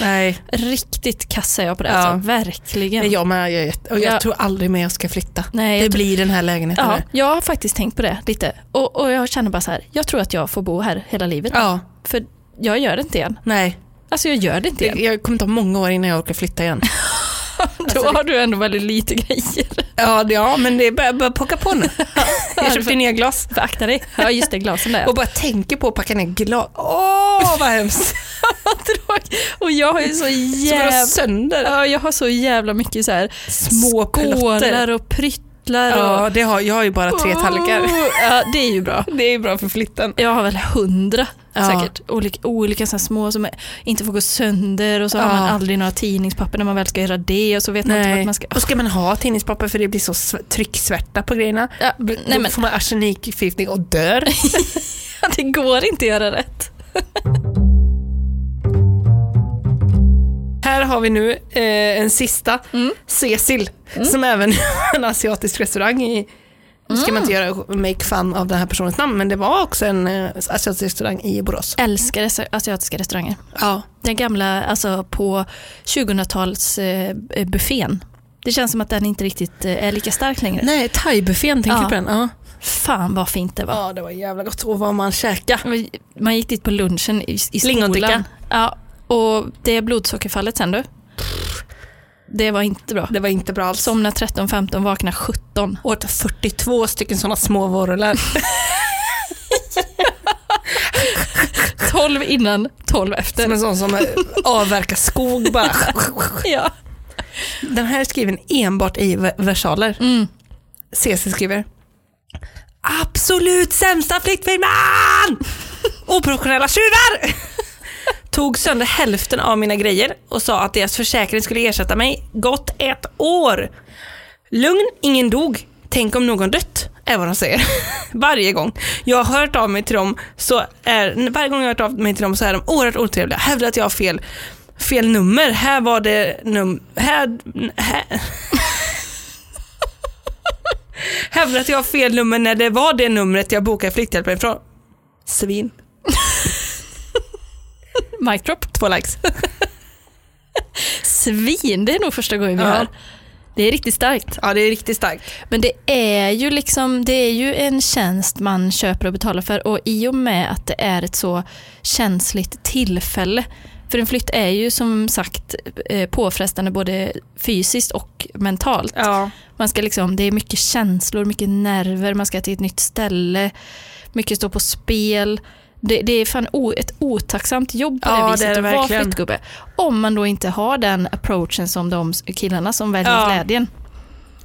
Nej.
Riktigt kassar jag på det.
Ja.
Alltså, verkligen.
Nej, jag med, jag, är jätte- och jag
Ja.
tror aldrig mer jag ska flytta.
Nej,
det
jag tror-
blir den här lägenheten
Ja,
nu.
jag har faktiskt tänkt på det lite. Och, och jag känner bara så här, jag tror att jag får bo här hela livet.
Ja,
För jag gör det inte igen.
nej.
Alltså jag gör det inte
Det,
igen.
jag kommer ta många år innan jag orkar flytta igen. alltså-
Då har du ändå väldigt lite grejer.
ja, det- ja, men det börjar börjar pocka på nu. jag köpte nya glas.
För akta Alltså, dig. Ja, just det, glasen där.
Och bara tänker på att packa ner glas. Åh, vad hemskt!
Tråkigt. och jag har ju så
Så går det
jävla...
sönder.
Ja, jag har så jävla mycket så här
Små
skålar
plotter.
och pryttlar.
Ja, det har, jag har ju bara
och...
tre tallrikar.
Ja, det är ju bra.
Det är ju bra för flytten.
Jag har väl hundra
Ja.
säkert. Olika, olika så här små som inte får gå sönder och så har
Ja.
man aldrig några tidningspapper när man väl ska göra det och så vet man inte vart
Nej.
man ska...
Och ska man ha tidningspapper för det blir så sv- trycksvärta på grejerna.
Ja, nej
Då
men
får man arsenikförgiftning och dör.
det går inte att göra rätt.
Här har vi nu Mm. eh, en sista, Cecil, som även har en asiatisk restaurang i Nu ska man inte göra make fun av den här personens namn, men det var också en eh, asiatisk restaurang i Borås.
Älskar resta- asiatiska restauranger.
Ja.
Den gamla, alltså på 2000-tals eh, buffén. Det känns som att den inte riktigt eh, är lika stark längre.
Nej, thaibuffén tänker
Ja.
du på den? Ja.
Fan vad fint det var.
ja, det var jävla gott. Och vad man käkade.
Man gick dit på lunchen i, i skolan.
Lingondricka.
Ja, och det blodsockerfallet sen du. Det var inte bra.
Det var inte bra alls.
Somna 13-15, vakna 17.
åt 42 stycken sådana små vorrlar.
12 innan, 12 efter.
Som en sån som eh, avverkar skog bara.
Ja.
Den här är skriven enbart i ve- versaler.
Mm.
CC skriver Absolut sämsta flyktfilmen! Oprofessionella tjuvar! Tog sönder hälften av mina grejer och sa att deras försäkring skulle ersätta mig gott ett år. Lugn, ingen dog. Tänk om någon dött, är vad de säger. Varje gång. Jag har hört av mig till dem, så är, varje gång jag har hört av mig till dem så är de oerhört otrevliga. Hävdar att jag har fel, fel nummer. Här var det num... Här, här. Hävdar att jag har fel nummer när det var det numret jag bokade flykthjälpen ifrån. Svin.
Mic drop.
Två likes.
Svin, det är nog första gången vi
Ja.
hör. Det är riktigt starkt.
Ja, det är riktigt starkt.
Men det är ju liksom, det är ju en tjänst man köper och betalar för och i och med att det är ett så känsligt tillfälle. För en flytt är ju som sagt eh, påfrestande både fysiskt och mentalt.
Ja.
Man ska liksom, det är mycket känslor, mycket nerver, man ska till ett nytt ställe, mycket står på spel. Det, det är fan o, ett otacksamt jobb på
Ja,
det
det
viset
är det
att vara
verkligen.
flyttgubbe. Om man då inte har den approachen som de killarna som väljer
Ja.
glädjen.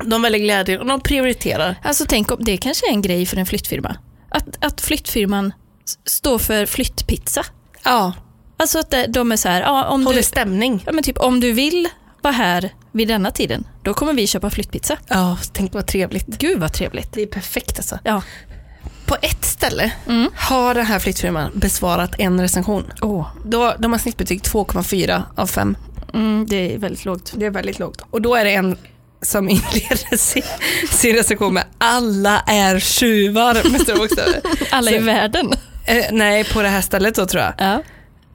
De väljer glädje och de prioriterar.
Alltså tänk om, det kanske är en grej för en flyttfirma. Att, att flyttfirman s- står för flyttpizza.
Ja.
Alltså att det- de är så här, ja, om, du,
Håller stämning.
ja, men typ, om du vill vara här vid denna tiden, då kommer vi köpa flyttpizza.
Ja, tänk vad trevligt.
Gud vad trevligt.
Det är perfekt alltså.
Ja.
På ett ställe
Mm.
har den här flyttfirman besvarat en recension.
Åh,
Då, de har snittbetyg 2,4 av 5.
mm, det är väldigt lågt.
Det är väldigt lågt. Och då är det en som inleder sin, sin recension med alla är tjuvar. Med stora bokstäver.
Alla i
Så-
världen.
eh, nej, på det här stället då tror jag.
Ja.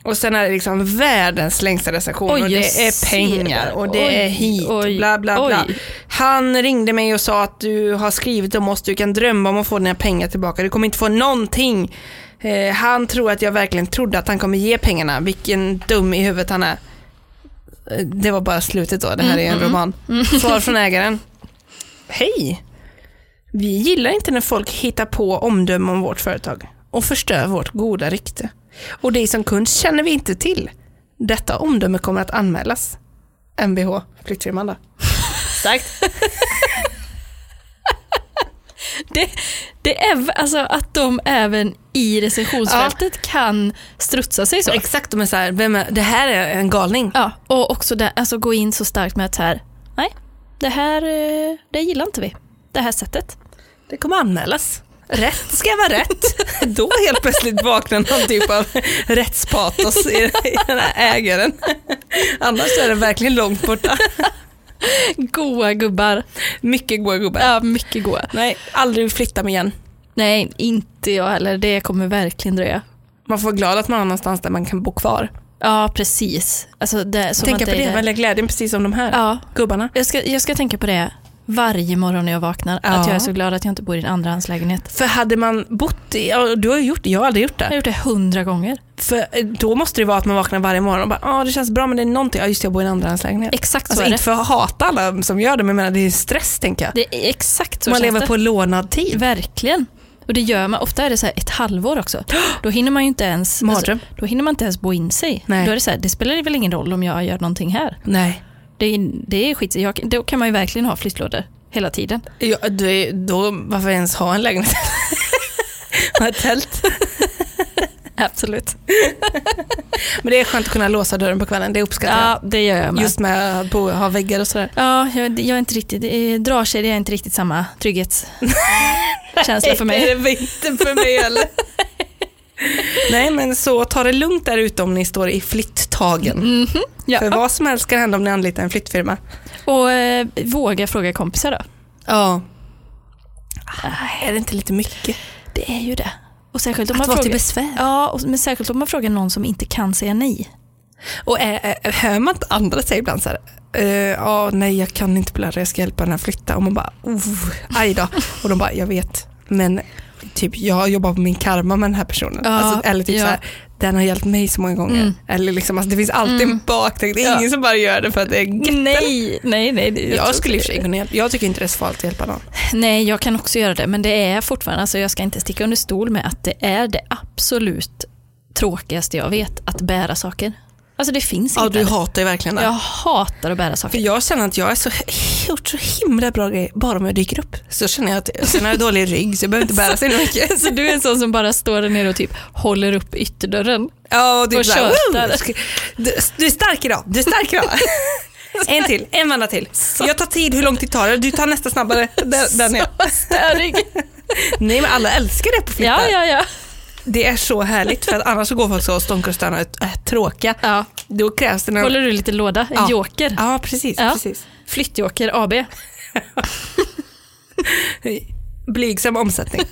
Och sen är det liksom världens längsta recension
Oj,
och
jag
det är
ser.
pengar och det
Oj,
är hit,
oj,
bla bla bla.
oj.
Han ringde mig och sa att du har skrivit om oss, du kan drömma om att få dina pengar tillbaka, du kommer inte få någonting. Eh, han tror att jag verkligen trodde att han kommer ge pengarna, vilken dum i huvudet han är. Eh, Det var bara slutet då, det här är en roman. Svar från ägaren. mm, Hej! Vi gillar inte när folk hittar på omdömen om vårt företag och förstör vårt goda rykte. Och dig som kund känner vi inte till. Detta omdöme kommer att anmälas. Mvh, flyttfirman då. Starkt.
Det, det är v- alltså att de även i recensionsfältet kan strutsa sig så.
Exakt, de är så här, vem är, det här är en galning.
Ja, och också där, alltså gå in så starkt med att så här, nej, det här eh, det gillar inte vi. Det här sättet.
Det kommer anmälas. Rätt ska vara rätt. Då helt plötsligt vaknar någon typ av rättspatos i, i den här ägaren. Annars är det verkligen långt borta.
Goa gubbar.
Mycket goa gubbar.
Ja, mycket goa.
Nej, aldrig flytta mig igen.
Nej, inte jag heller. Det kommer verkligen dröja.
Man får vara glad att man har någonstans där man kan bo kvar.
Ja, precis. Alltså, det, som
Tänka
att
på det,
är
välja glädjen precis som de här
Ja,
gubbarna.
jag ska, jag ska tänka på det varje morgon när jag vaknar.
Ja.
Att jag är så glad att jag inte bor i en andrahandslägenhet.
För hade man bott i, ja, du har ju gjort det, jag har aldrig gjort
Jag har
det.
gjort det hundra gånger.
För eh, då måste det vara att man vaknar varje morgon och bara, ja det känns bra men det är någonting, ja just det, jag bor i en andrahandslägenhet.
Exakt så
Alltså
är
inte
det.
för att hata alla som gör det, men jag menar det är stress tänker jag.
det är exakt så
man
känns
lever
det.
på lånad tid.
Verkligen. Och det gör man. Ofta är det så här ett halvår också. Då hinner man ju inte ens, alltså,
Mardröm.
då hinner man inte ens bo in sig.
Nej.
Då är det så här, det spelar väl ingen roll om jag gör någonting här.
Nej,
Det är, det är skit. Jag, då kan man ju verkligen ha flyttlådor hela tiden.
ja, du, då varför ens ha en lägenhet? Man har ett tält.
Absolut.
Men det är skönt att kunna låsa dörren på kvällen, det uppskattar jag.
Ja, det gör jag med.
Just med att bo, ha väggar och sådär.
Ja, jag, jag är inte riktigt, eh, dragkedja är inte riktigt samma trygghetskänsla för mig.
Det är det inte för mig heller. Nej men så ta det lugnt där ute om ni står i flytttagen. För
Ja.
vad som helst kan hända om ni anlitar en flyttfirma.
Och eh, våga fråga kompisar då.
Ja.
Ah,
Är det inte lite mycket?
Det är ju det. Och särskilt om
Att
man
vara typ till
frågar,
besvär.
ja, och, men särskilt om man frågar någon som inte kan säga nej.
Och är, är, hör man inte andra säga ibland så här, eh, ja nej jag kan inte blöda, jag ska hjälpa den här flytta. Och man bara, oh, aj då. Och de bara, jag vet, men typ jag jobbar på min karma med den här personen.
Ja,
alltså, eller typ
ja.
så här, den har hjälpt mig så många gånger.
Mm.
Eller liksom, alltså, det finns alltid en baktanke, det är
Ja.
ingen som bara gör det för att det är gött.
Nej, nej, nej. det-
Mm. Jag,
tror
skulle i och
inte det.
för sig kunna hjälpa, jag tycker inte det är så farligt att hjälpa någon.
Nej, jag kan också göra det, men det är fortfarande, alltså jag ska inte sticka under stol med att det är det absolut tråkigaste jag vet, att bära saker. Alltså det finns inget värre.
hatar ju verkligen
Jag hatar att bära
För
saker.
jag känner att jag är så, gjort så himla bra grejer bara om jag dyker upp. Så känner jag att sen har jag dålig rygg så jag behöver inte bära så himla mycket.
Så du är en sån som bara står där nere och typ håller upp ytterdörren.
Ja, och du är
Och
så här,
tjötar.
"Woo!" du, du är stark idag, du är stark idag. En till, en vända till. Jag tar tid, hur lång tid tar det? Du tar nästa snabbare. Där, där nere.
Vad störig.
Nej men alla älskar det på flyttar.
Ja, ja, ja.
Det är så härligt för att annars så går folk så och stånkar och stannar och är tråkiga.
ja.
Då krävs det någon...
Håller du lite låda? En
Ja.
joker?
Ja precis,
Ja.
precis.
Flyttjoker AB.
Blygsam omsättning.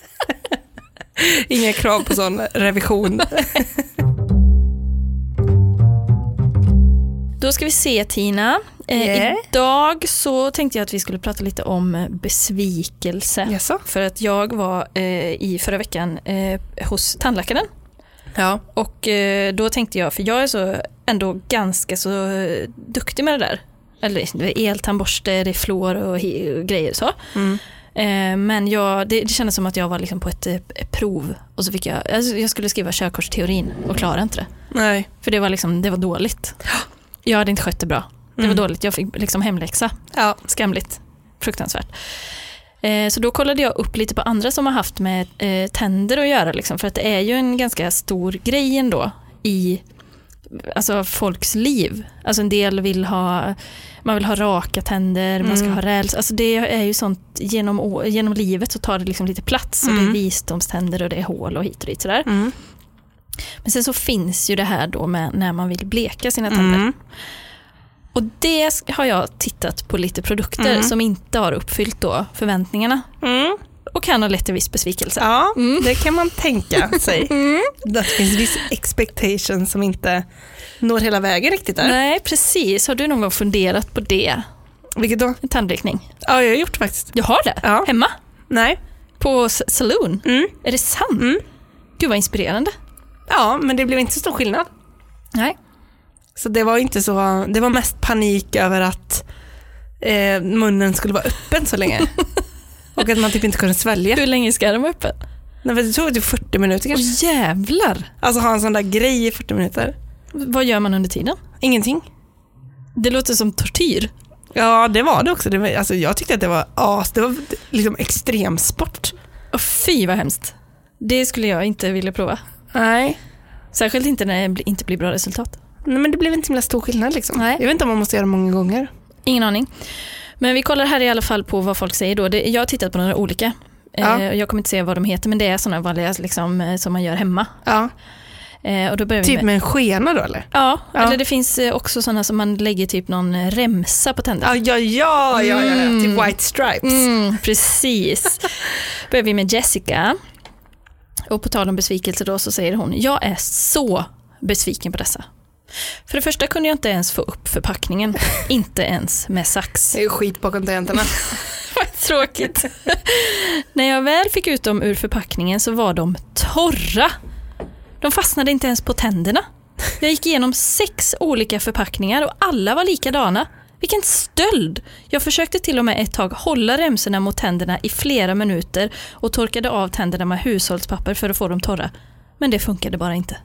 Inga krav på sån revision.
Då ska vi se Tina. Eh,
Yeah.
Idag så tänkte jag att vi skulle prata lite om eh, besvikelse.
Jaså?
För att jag var eh, i förra veckan eh, hos tandläkaren.
Ja.
Och eh, då tänkte jag, för jag är så ändå ganska så eh, duktig med det där. Eller det är eltandborste, det är fluor och, hi- och grejer så.
Mm.
Eh, men jag, det, det kändes som att jag var liksom på ett eh, prov och så fick jag, alltså, jag skulle skriva körkortsteorin och klarade inte det.
Nej.
För det var, liksom, det var dåligt. Jag hade inte skött det bra. Det
Mm.
var dåligt, jag fick liksom hemläxa.
Ja.
Skamligt. Fruktansvärt. Eh, Så då kollade jag upp lite på andra som har haft med eh, tänder att göra. Liksom, för att det är ju en ganska stor grej ändå i alltså, folks liv. Alltså en del vill ha, man vill ha raka tänder, man ska
Mm.
ha räls. Alltså det är ju sånt, genom, å- genom livet så tar det liksom lite plats. Och det
Mm.
är visdomständer och det är hål och hit och dit. Sådär.
Mm.
Men sen så finns ju det här då med när man vill bleka sina tänder.
Mm.
Och det sk- har jag tittat på lite produkter
Mm.
som inte har uppfyllt då förväntningarna
Mm.
och kan ha lett till viss besvikelse.
Ja, det kan man tänka sig. Det finns viss expectation som inte når hela vägen riktigt där.
Nej, precis. Har du någon gång funderat på det?
Vilket då?
En tandblekning?
Ja, jag har gjort det faktiskt.
Jag har det.
Ja.
Hemma?
Nej.
På s- saloon?
Mm.
Är det sant?
Mm.
Gud vad inspirerande.
Ja, men det blev inte så stor skillnad.
Nej.
Så det var inte så, det var mest panik över att eh, munnen skulle vara öppen så länge. Och att man typ inte kunde svälja.
Hur länge ska den vara öppen?
Nej, men det tog typ 40 minuter
Åh
kanske.
jävlar!
Alltså ha en sån där grej i 40 minuter.
Vad gör man under tiden?
Ingenting.
Det låter som tortyr.
Ja, det var det också. Det var, alltså, jag tyckte att det var as, det var liksom extremsport.
Och fy vad hemskt. Det skulle jag inte vilja prova.
Nej.
Särskilt inte när det bli- inte blir bra resultat.
Nej men det blev inte så himla stor skillnad liksom.
Nej.
Jag vet inte om man måste göra det många gånger.
Ingen aning. Men vi kollar här i alla fall på vad folk säger då. Det, jag har tittat på några olika.
Ja.
Eh, jag kommer inte säga vad de heter men det är sådana vanliga liksom, eh, som man gör hemma.
Ja.
Eh, och då börjar vi
Typ
med,
med en skena då eller?
ja,
Ja.
eller det finns eh, också sådana som man lägger typ någon eh, remsa på tänderna.
ja, ja, ja, ja, ja. Typ white stripes.
Mm, precis. börjar vi med Jessica. Och på tal om besvikelse då så säger hon, jag är så besviken på dessa. För det första kunde jag inte ens få upp förpackningen, inte ens med sax.
Det är ju skit bakom tangenterna.
Tråkigt. När jag väl fick ut dem ur förpackningen så var de torra. De fastnade inte ens på tänderna. Jag gick igenom sex olika förpackningar och alla var likadana. Vilken stöld! Jag försökte till och med ett tag hålla remsorna mot tänderna i flera minuter och torkade av tänderna med hushållspapper för att få dem torra. Men det funkade bara inte.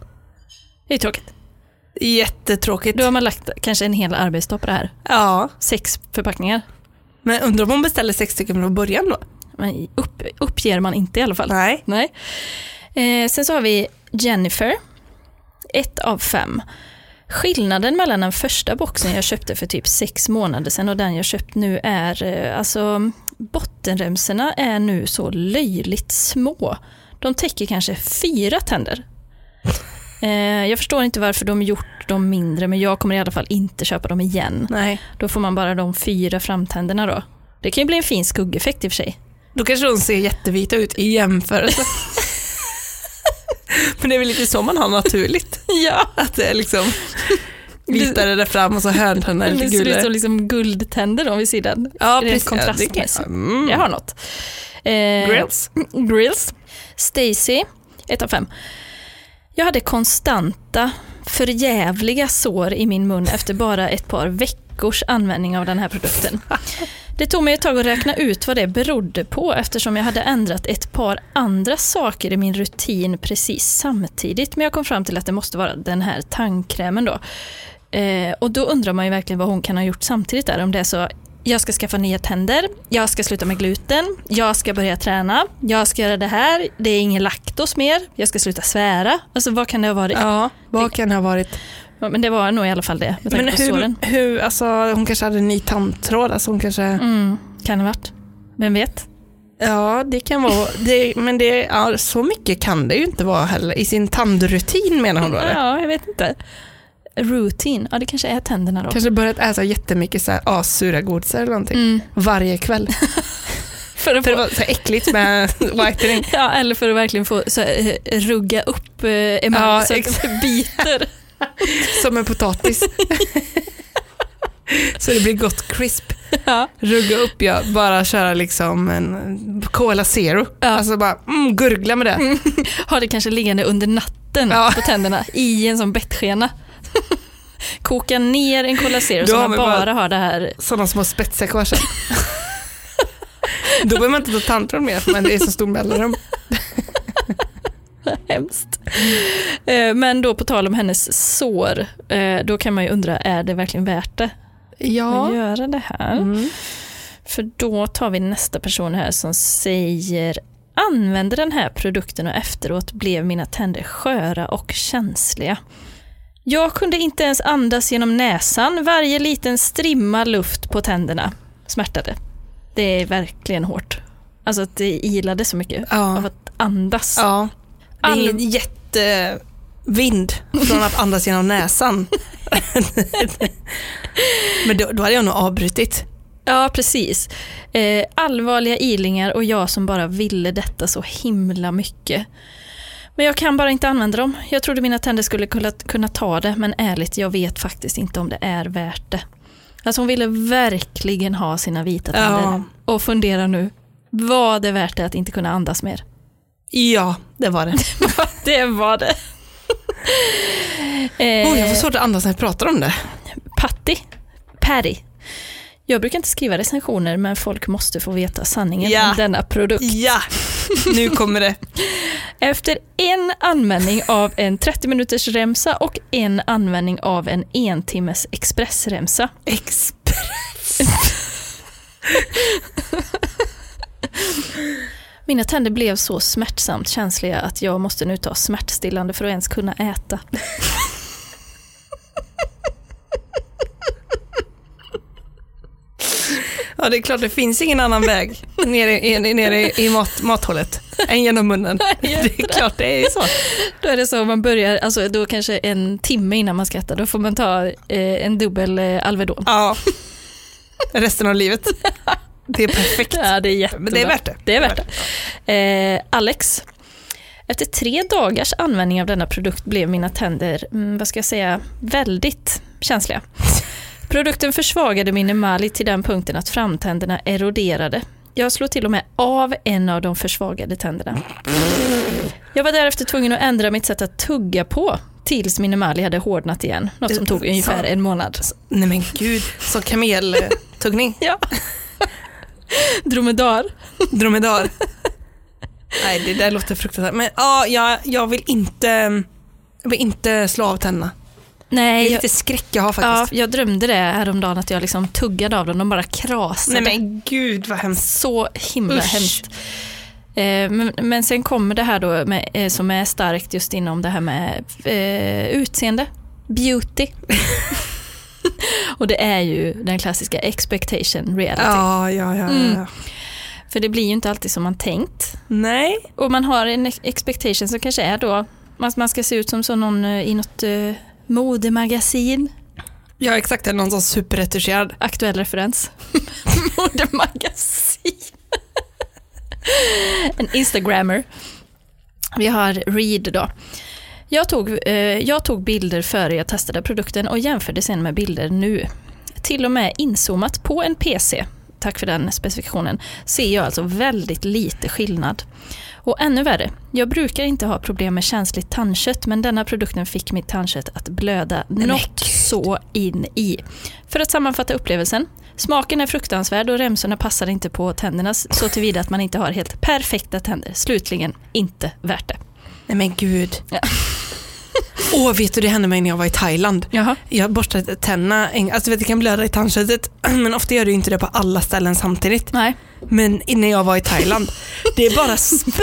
Det är tråkigt.
Jättetråkigt.
Då har man lagt kanske en hel arbetsdag på det här.
Ja,
Sex förpackningar.
men undrar om hon beställde sex stycken från början då?
Men upp, uppger man inte i alla fall.
Nej.
Nej. Eh, sen så har vi Jennifer. Ett av fem. Skillnaden mellan den första boxen jag köpte för typ sex månader sedan och den jag köpt nu är, eh, alltså bottenremsorna är nu så löjligt små. De täcker kanske fyra tänder. Eh, jag förstår inte varför de gjort dem mindre men jag kommer i alla fall inte köpa dem igen.
Nej.
Då får man bara de fyra framtänderna då. Det kan ju bli en fin skuggeffekt i och för sig.
Då kanske de ser jättevita ut i jämförelse. Men det är väl lite så man har naturligt.
Ja.
Att det är liksom glittrar där fram och så hörntanderna är
Eller
lite
ser det ut
gula.
som liksom guldtänder då vid sidan.
Ja,
Rent
precis.
kontrastmässigt.
Mm.
Det har något. Eh,
Grills.
Grills. Stacy, 1 av 5. Jag hade konstanta förjävliga sår i min mun efter bara ett par veckors användning av den här produkten. Det tog mig ett tag att räkna ut vad det berodde på eftersom jag hade ändrat ett par andra saker i min rutin precis samtidigt. Men jag kom fram till att det måste vara den här tandkrämen då. Eh, och då undrar man ju verkligen vad hon kan ha gjort samtidigt där. Om det är så, jag ska skaffa nya tänder, jag ska sluta med gluten, jag ska börja träna, jag ska göra det här, det är ingen laktos mer, jag ska sluta svära. Alltså vad kan det ha varit?
Ja, vad kan det ha varit?
Ja, Men det var nog i alla fall det, med tanke
Men
på såren.
hur, hur, alltså hon kanske hade en ny tandtråd, alltså hon kanske...
Mm, kan det ha varit. Vem vet?
Ja, det kan vara, det, men det, ja, så mycket kan det ju inte vara heller. I sin tandrutin menar hon då eller?
Ja, jag vet inte. Routine, ja det kanske är tänderna då.
Kanske börjat äta jättemycket så här assura godisar eller någonting.
Mm.
Varje kväll.
För att
Typ. För
få,
det var så äckligt med whitening.
ja, eller för att verkligen få så, här, eh, rugga upp eh, emalj
Ja,
så att det biter.
Som en potatis. så det blir gott crisp.
ja.
Rugga upp ja, bara köra liksom en Cola Zero.
Ja.
Alltså bara mm, gurgla med det.
Har det kanske liggande under natten
Ja.
på tänderna i en sån bettskena. Koka ner en Cola Zero
Då
så
har
man
man
bara,
bara-
har det här.
Sådana små spetsiga kvar sen. Då behöver man inte ta tandtråd mer för man- det är så stor mellanrum.
Hemskt. Eh, Men då på tal om hennes sår, eh, då kan man ju undra, är det verkligen värt det att
Ja.
göra det här?
Mm.
För då tar vi nästa person här som säger använde den här produkten och efteråt blev mina tänder sköra och känsliga. Jag kunde inte ens andas genom näsan. Varje liten strimma luft på tänderna smärtade. Det är verkligen hårt. Alltså att det ilade så mycket av
Ja.
att andas.
ja. Det är
All-
ingen jättevind från att andas genom näsan. Men då, då hade jag nog avbrutit.
Ja, precis. Eh, allvarliga ilingar och jag som bara ville detta så himla mycket. Men jag kan bara inte använda dem. Jag trodde mina tänder skulle kunna, kunna ta det, men ärligt, jag vet faktiskt inte om det är värt det. Alltså hon ville verkligen ha sina vita tänder.
Ja.
Och fundera nu, var det värt det att inte kunna andas mer?
Ja, det var det.
Det var det. eh,
Oh, jag får svårt att andas när jag pratar om det.
Patty. Patty. Jag brukar inte skriva recensioner men folk måste få veta sanningen
Ja.
om denna produkt.
Ja, nu kommer det.
Efter en användning av en 30 minuters remsa och en användning av en en timmes expressremsa.
Express.
Mina tänder blev så smärtsamt känsliga att jag måste nu ta smärtstillande för att ens kunna äta.
Ja, det är klart det finns ingen annan väg nere, i- nere i mat, mathålet än genom munnen. Det är klart det är så.
Då är det så man börjar, alltså då kanske en timme innan man ska äta, då får man ta eh, en dubbel eh, Alvedon.
Ja. Resten av livet. Det är perfekt.
Ja, det är jättebra.
Men det är värt det.
Det är värt det. Eh, Alex. Efter tre dagars användning av denna produkt blev mina tänder, mm, vad ska jag säga, väldigt känsliga. Produkten försvagade min emalj till den punkten att framtänderna eroderade. Jag slog till och med av en av de försvagade tänderna. Jag var därefter tvungen att ändra mitt sätt att tugga på tills min emalj hade hårdnat igen, något som tog ungefär en månad.
Nej men gud, så kameltuggning.
Ja. Dromedar.
Dromedar. Nej, det där låter fruktansvärt. Men ja, jag, jag vill inte jag vill inte slå av tänderna. Det
Nej,
är
jag-
lite skräck jag har faktiskt.
Ja, jag drömde det häromdagen att jag liksom tuggade av dem, de bara krasade.
Nej men gud vad hemskt.
Så himla
Usch.
hemskt. Eh, Men, men sen kommer det här då med, eh, som är starkt just inom det här med eh, utseende, beauty. Och det är ju den klassiska expectation reality.
Ja, ja, ja.
Mm.
ja.
För det blir ju inte alltid som man tänkt.
Nej.
Och man har en ex- expectation som kanske är då att man ska se ut som så någon eh, i något eh, modemagasin.
Ja exakt, det är någon som är superretuscherad.
Aktuell referens. Modemagasin. en instagrammer. Vi har Reed då. Jag tog, eh, jag tog bilder före jag testade produkten och jämförde sen med bilder nu. Till och med inzoomat på en PC, tack för den specifikationen, ser jag alltså väldigt lite skillnad. Och ännu värre, jag brukar inte ha problem med känsligt tandkött men denna produkten fick mitt tandkött att blöda något så in i. För att sammanfatta upplevelsen, smaken är fruktansvärd och remsorna passar inte på tänderna så tillvida att man inte har helt perfekta tänder. Slutligen, inte värt det.
Nej men gud.
Ja.
Åh, vet du det hände mig när jag var i Thailand.
Jaha.
Jag borstade tänderna, en- alltså du vet det kan blöda i tandköttet men ofta gör du inte det på alla ställen samtidigt.
Nej.
Men innan jag var i Thailand, det bara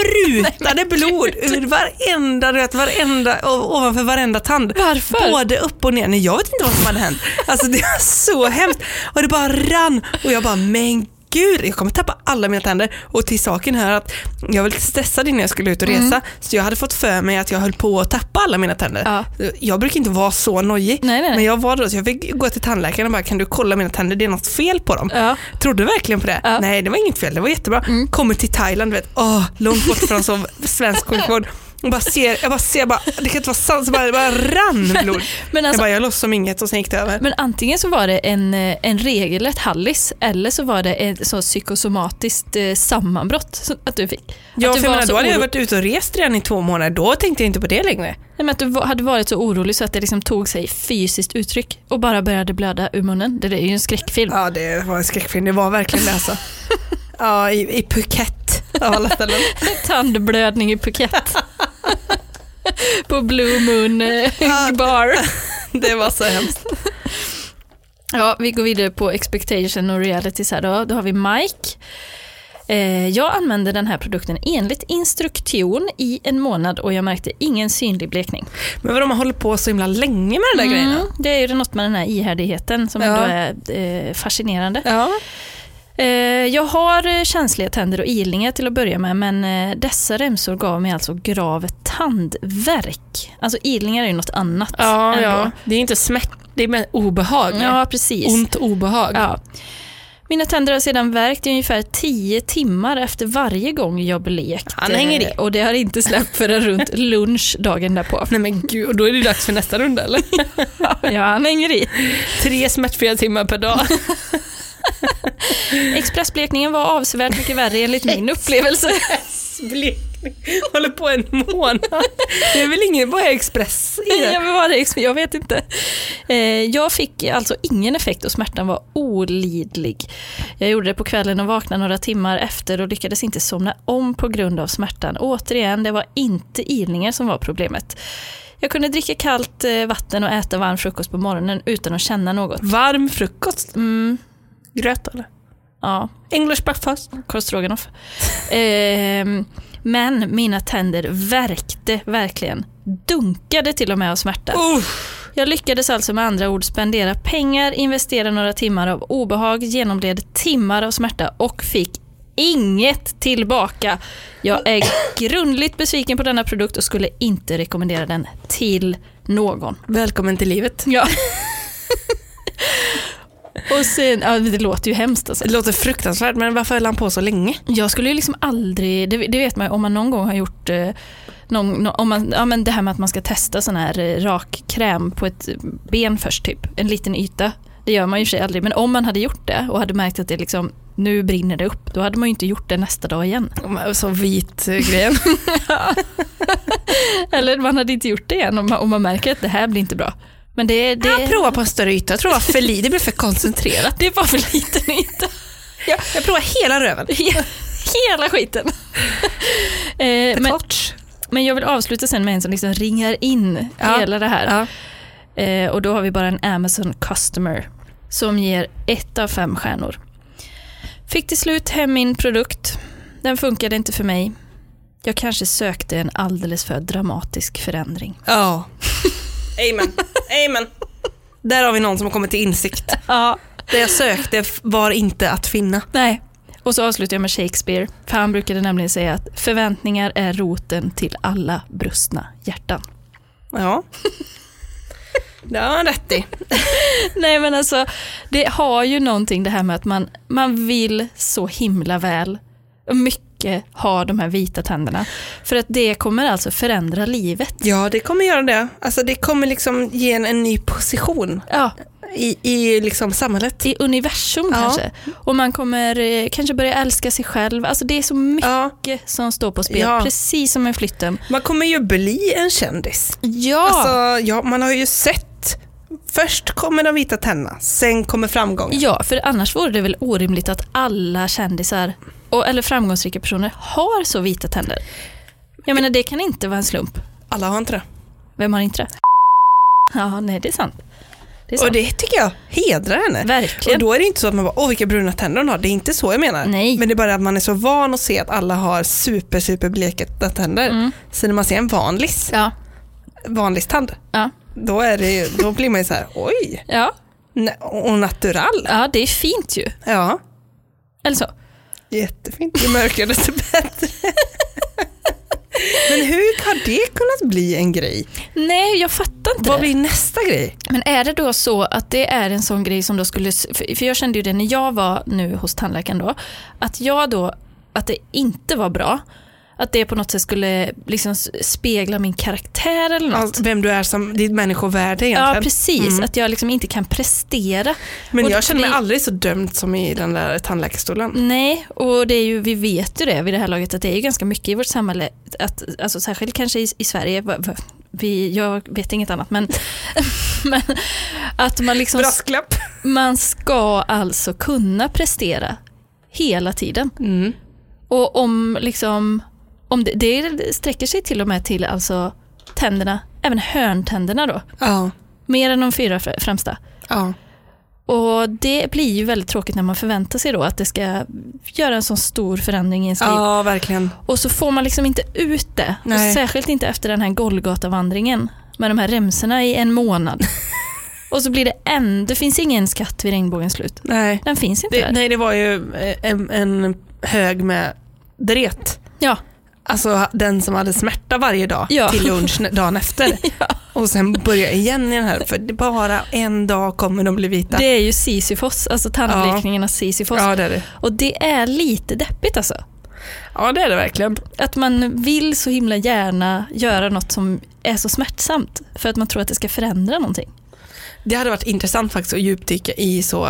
sprutade blod ur varenda, du vet, varenda, o- ovanför varenda tand.
Varför?
Både upp och ner. Nej, jag vet inte vad som hade hänt. Alltså det var så hemskt. Och det bara rann och jag bara, men gud, jag kommer tappa alla mina tänder. Och till saken här att jag var lite stressad innan jag skulle ut och
Mm.
resa så jag hade fått för mig att jag höll på att tappa alla mina tänder.
Ja.
Jag brukar inte vara så nojig,
Nej, nej, nej.
men jag var då så jag fick gå till tandläkaren och bara, kan du kolla mina tänder? Det är något fel på dem.
Ja.
Trodde verkligen på det.
Ja. Mm.
Nej, det var inget fel. Det var jättebra. Kommer till Thailand, du vet, åh, långt bort från så svensk sjukvård. Och bara ser, jag bara ser, bara, det kan inte vara sant, så bara, det bara rann blod.
Men
jag
alltså,
bara, jag låtsas som inget och sen gick det över.
Men antingen så var det en, eh, en regelrätt hallis eller så var det ett så psykosomatiskt eh, sammanbrott som, att du fick.
Ja,
att
för
du
jag menar,
så
då hade jag
oro-
varit ute och rest redan i två månader, då tänkte jag inte på det längre.
Nej, men att du va- hade varit så orolig så att det liksom tog sig fysiskt uttryck och bara började blöda ur munnen. Det där är ju en skräckfilm.
Ja, det var en skräckfilm, det var verkligen det alltså. Ja, i, i Phuket av alla ställen.
Tandblödning i Phuket. På Blue Moon eh, Bar.
Det var så hemskt.
Ja, vi går vidare på expectation och reality. Så här då. då har vi Mike. Eh, jag använde den här produkten enligt instruktion i en månad och jag märkte ingen synlig blekning.
Men vadå, man håller på så himla länge med
Mm.
de där grejerna.
Det är ju något med den här ihärdigheten som
Ja.
ändå är eh, fascinerande.
Ja.
Eh, jag har eh, känsliga tänder och ilningar till att börja med men eh, dessa remsor gav mig alltså grav tandvärk. Alltså ilningar är ju något annat.
Ja,
ändå.
ja. Det är inte smärta, det är mer obehag.
ja precis.
Ont obehag.
Ja. Mina tänder har sedan värkt i ungefär 10 timmar efter varje gång jag blekt.
Han hänger i.
Eh, Och det har inte släppt förrän runt lunch dagen därpå.
Nej men gud, och då är det dags för nästa runda eller?
Ja, han hänger i.
Tre smärtfria timmar per dag.
Expressblekningen var avsevärt mycket värre enligt min upplevelse.
Blekning. Håller på en månad. Det är väl ingen, vad är Express i det?
Jag, var det, ex- jag vet inte. Eh, Jag fick alltså ingen effekt och smärtan var olidlig. Jag gjorde det på kvällen och vaknade några timmar efter och lyckades inte somna om på grund av smärtan. Återigen, det var inte ilningar som var problemet. Jag kunde dricka kallt eh, vatten och äta varm frukost på morgonen utan att känna något.
Varm frukost.
Mm,
Gröt eller?
ja,
English breakfast.
korv stroganoff. Ehm, men mina tänder verkte verkligen. Dunkade till och med av smärta.
Uff.
Jag lyckades alltså med andra ord spendera pengar, investera några timmar av obehag, genomled timmar av smärta och fick inget tillbaka. Jag är grundligt besviken på denna produkt och skulle inte rekommendera den till någon.
Välkommen till livet.
Ja. och sen, ja, det låter ju hemskt alltså.
Det låter fruktansvärt men varför höll han på så länge?
Jag skulle ju liksom aldrig, det, det vet man ju om man någon gång har gjort eh, någon, nå- om man, ja, men det här med att man ska testa sån här eh, rakkräm på ett ben först typ, en liten yta. Det gör man ju i och för sig aldrig, men om man hade gjort det och hade märkt att det liksom, nu brinner det upp, då hade man ju inte gjort det nästa dag igen.
Så vit eh, grejen.
Eller man hade inte gjort det igen om man, om man märker att det här blir inte bra. Men det, det,
Jag provar på en större yta, jag tror det var för li- det blev för koncentrerat.
det var för liten yta.
Jag, jag provar hela röven.
He- Hela skiten. eh, men,
Kort.
men jag vill avsluta sen med en som liksom ringar in
Ja.
hela det här.
Ja.
Eh, och då har vi bara en Amazon Customer som ger ett av fem stjärnor. Fick till slut hem min produkt. Den funkade inte för mig. Jag kanske sökte en alldeles för dramatisk förändring.
Ja. Amen. Amen. Där har vi någon som har kommit till insikt.
Ja,
Det jag sökte f- var inte att finna.
nej. Och så avslutar jag med Shakespeare, för han brukade nämligen säga att förväntningar är roten till alla brustna hjärtan.
Ja. Det har han rätt i.
Nej men alltså, det har ju någonting det här med att man, man vill så himla väl. Mycket icke har de här vita tänderna. För att det kommer alltså förändra livet.
Ja, det kommer göra det. Alltså, det kommer liksom ge en, en ny position
Ja,
i, i liksom samhället.
i universum
Ja.
kanske. Och man kommer eh, kanske börja älska sig själv. Alltså det är så mycket
Ja,
som står på spel,
Ja.
precis som med flytten.
man kommer ju bli en kändis.
Ja,
Alltså, ja, man har ju sett. Först kommer de vita tänderna, sen kommer framgången.
ja, för annars vore det väl orimligt att alla kändisar, och, eller framgångsrika personer, har så vita tänder. Jag menar det kan inte vara en slump.
Alla har inte det.
Vem har inte det? Ja, nej det är sant. Det är sant.
Och det tycker jag hedrar henne.
Verkligen.
Och då är det inte så att man bara, åh vilka bruna tänder hon har. Det är inte så jag menar.
Nej.
Men det är bara att man är så van att se att alla har super, super blekta tänder.
Mm.
Så när man ser en vanlis,
Ja,
vanlis tand,
ja,
då, är det, ju- då blir man ju så här, oj,
ja,
ne- och natural.
ja, det är fint ju. Alltså,
Ja,
Eller så.
jättefint. Ju mörkare desto bättre. Men hur har det kunnat bli en grej?
Nej, jag fattar inte
Vad
det.
blir nästa grej?
Men är det då så att det är en sån grej som då skulle, för för jag kände ju det när jag var nu hos tandläkaren då, att jag då, att det inte var bra, att det på något sätt skulle liksom s- spegla min karaktär eller något.
Alltså, vem du är som ditt människovärde egentligen. Mm.
Ja, precis. Att jag liksom inte kan prestera.
Men
Och
jag
det-
känner mig
det- Mm.
aldrig så dömd som i den där tandläkarstolen.
Nej, och det är ju, vi vet ju det vid det här laget att det är ju ganska mycket i vårt samhälle, att, alltså, särskilt kanske i, i Sverige, va- va- vi, jag vet inget annat, men, men att man liksom
Brasklapp.
Man ska alltså kunna prestera hela tiden. Och om, liksom, om det, det sträcker sig till och med till alltså tänderna, även hörntänderna då,
Ja.
mer än de fyra fr- främsta.
ja.
Och det blir ju väldigt tråkigt när man förväntar sig då att det ska göra en sån stor förändring i ens liv.
Ja, verkligen.
Och så får man liksom inte ut det.
Nej.
Och särskilt inte efter den här Golgatavandringen med de här remsorna i en månad. och så blir det en, det finns ingen skatt vid regnbågens slut.
Nej.
Den finns inte
Det,
där.
nej, det var ju eh, en, en hög med dret.
Ja,
Alltså den som hade smärta varje dag
Ja.
till lunch n- dagen efter. Och sen börja igen i den här, för det är bara en dag kommer de bli vita.
det är ju Sisyfos, alltså tandblekningarnas Sisyfos.
ja, det är det.
Och det är lite deppigt alltså.
Ja, det är det verkligen.
Att man vill så himla gärna göra något som är så smärtsamt för att man tror att det ska förändra någonting.
Det hade varit intressant faktiskt att djupdyka i så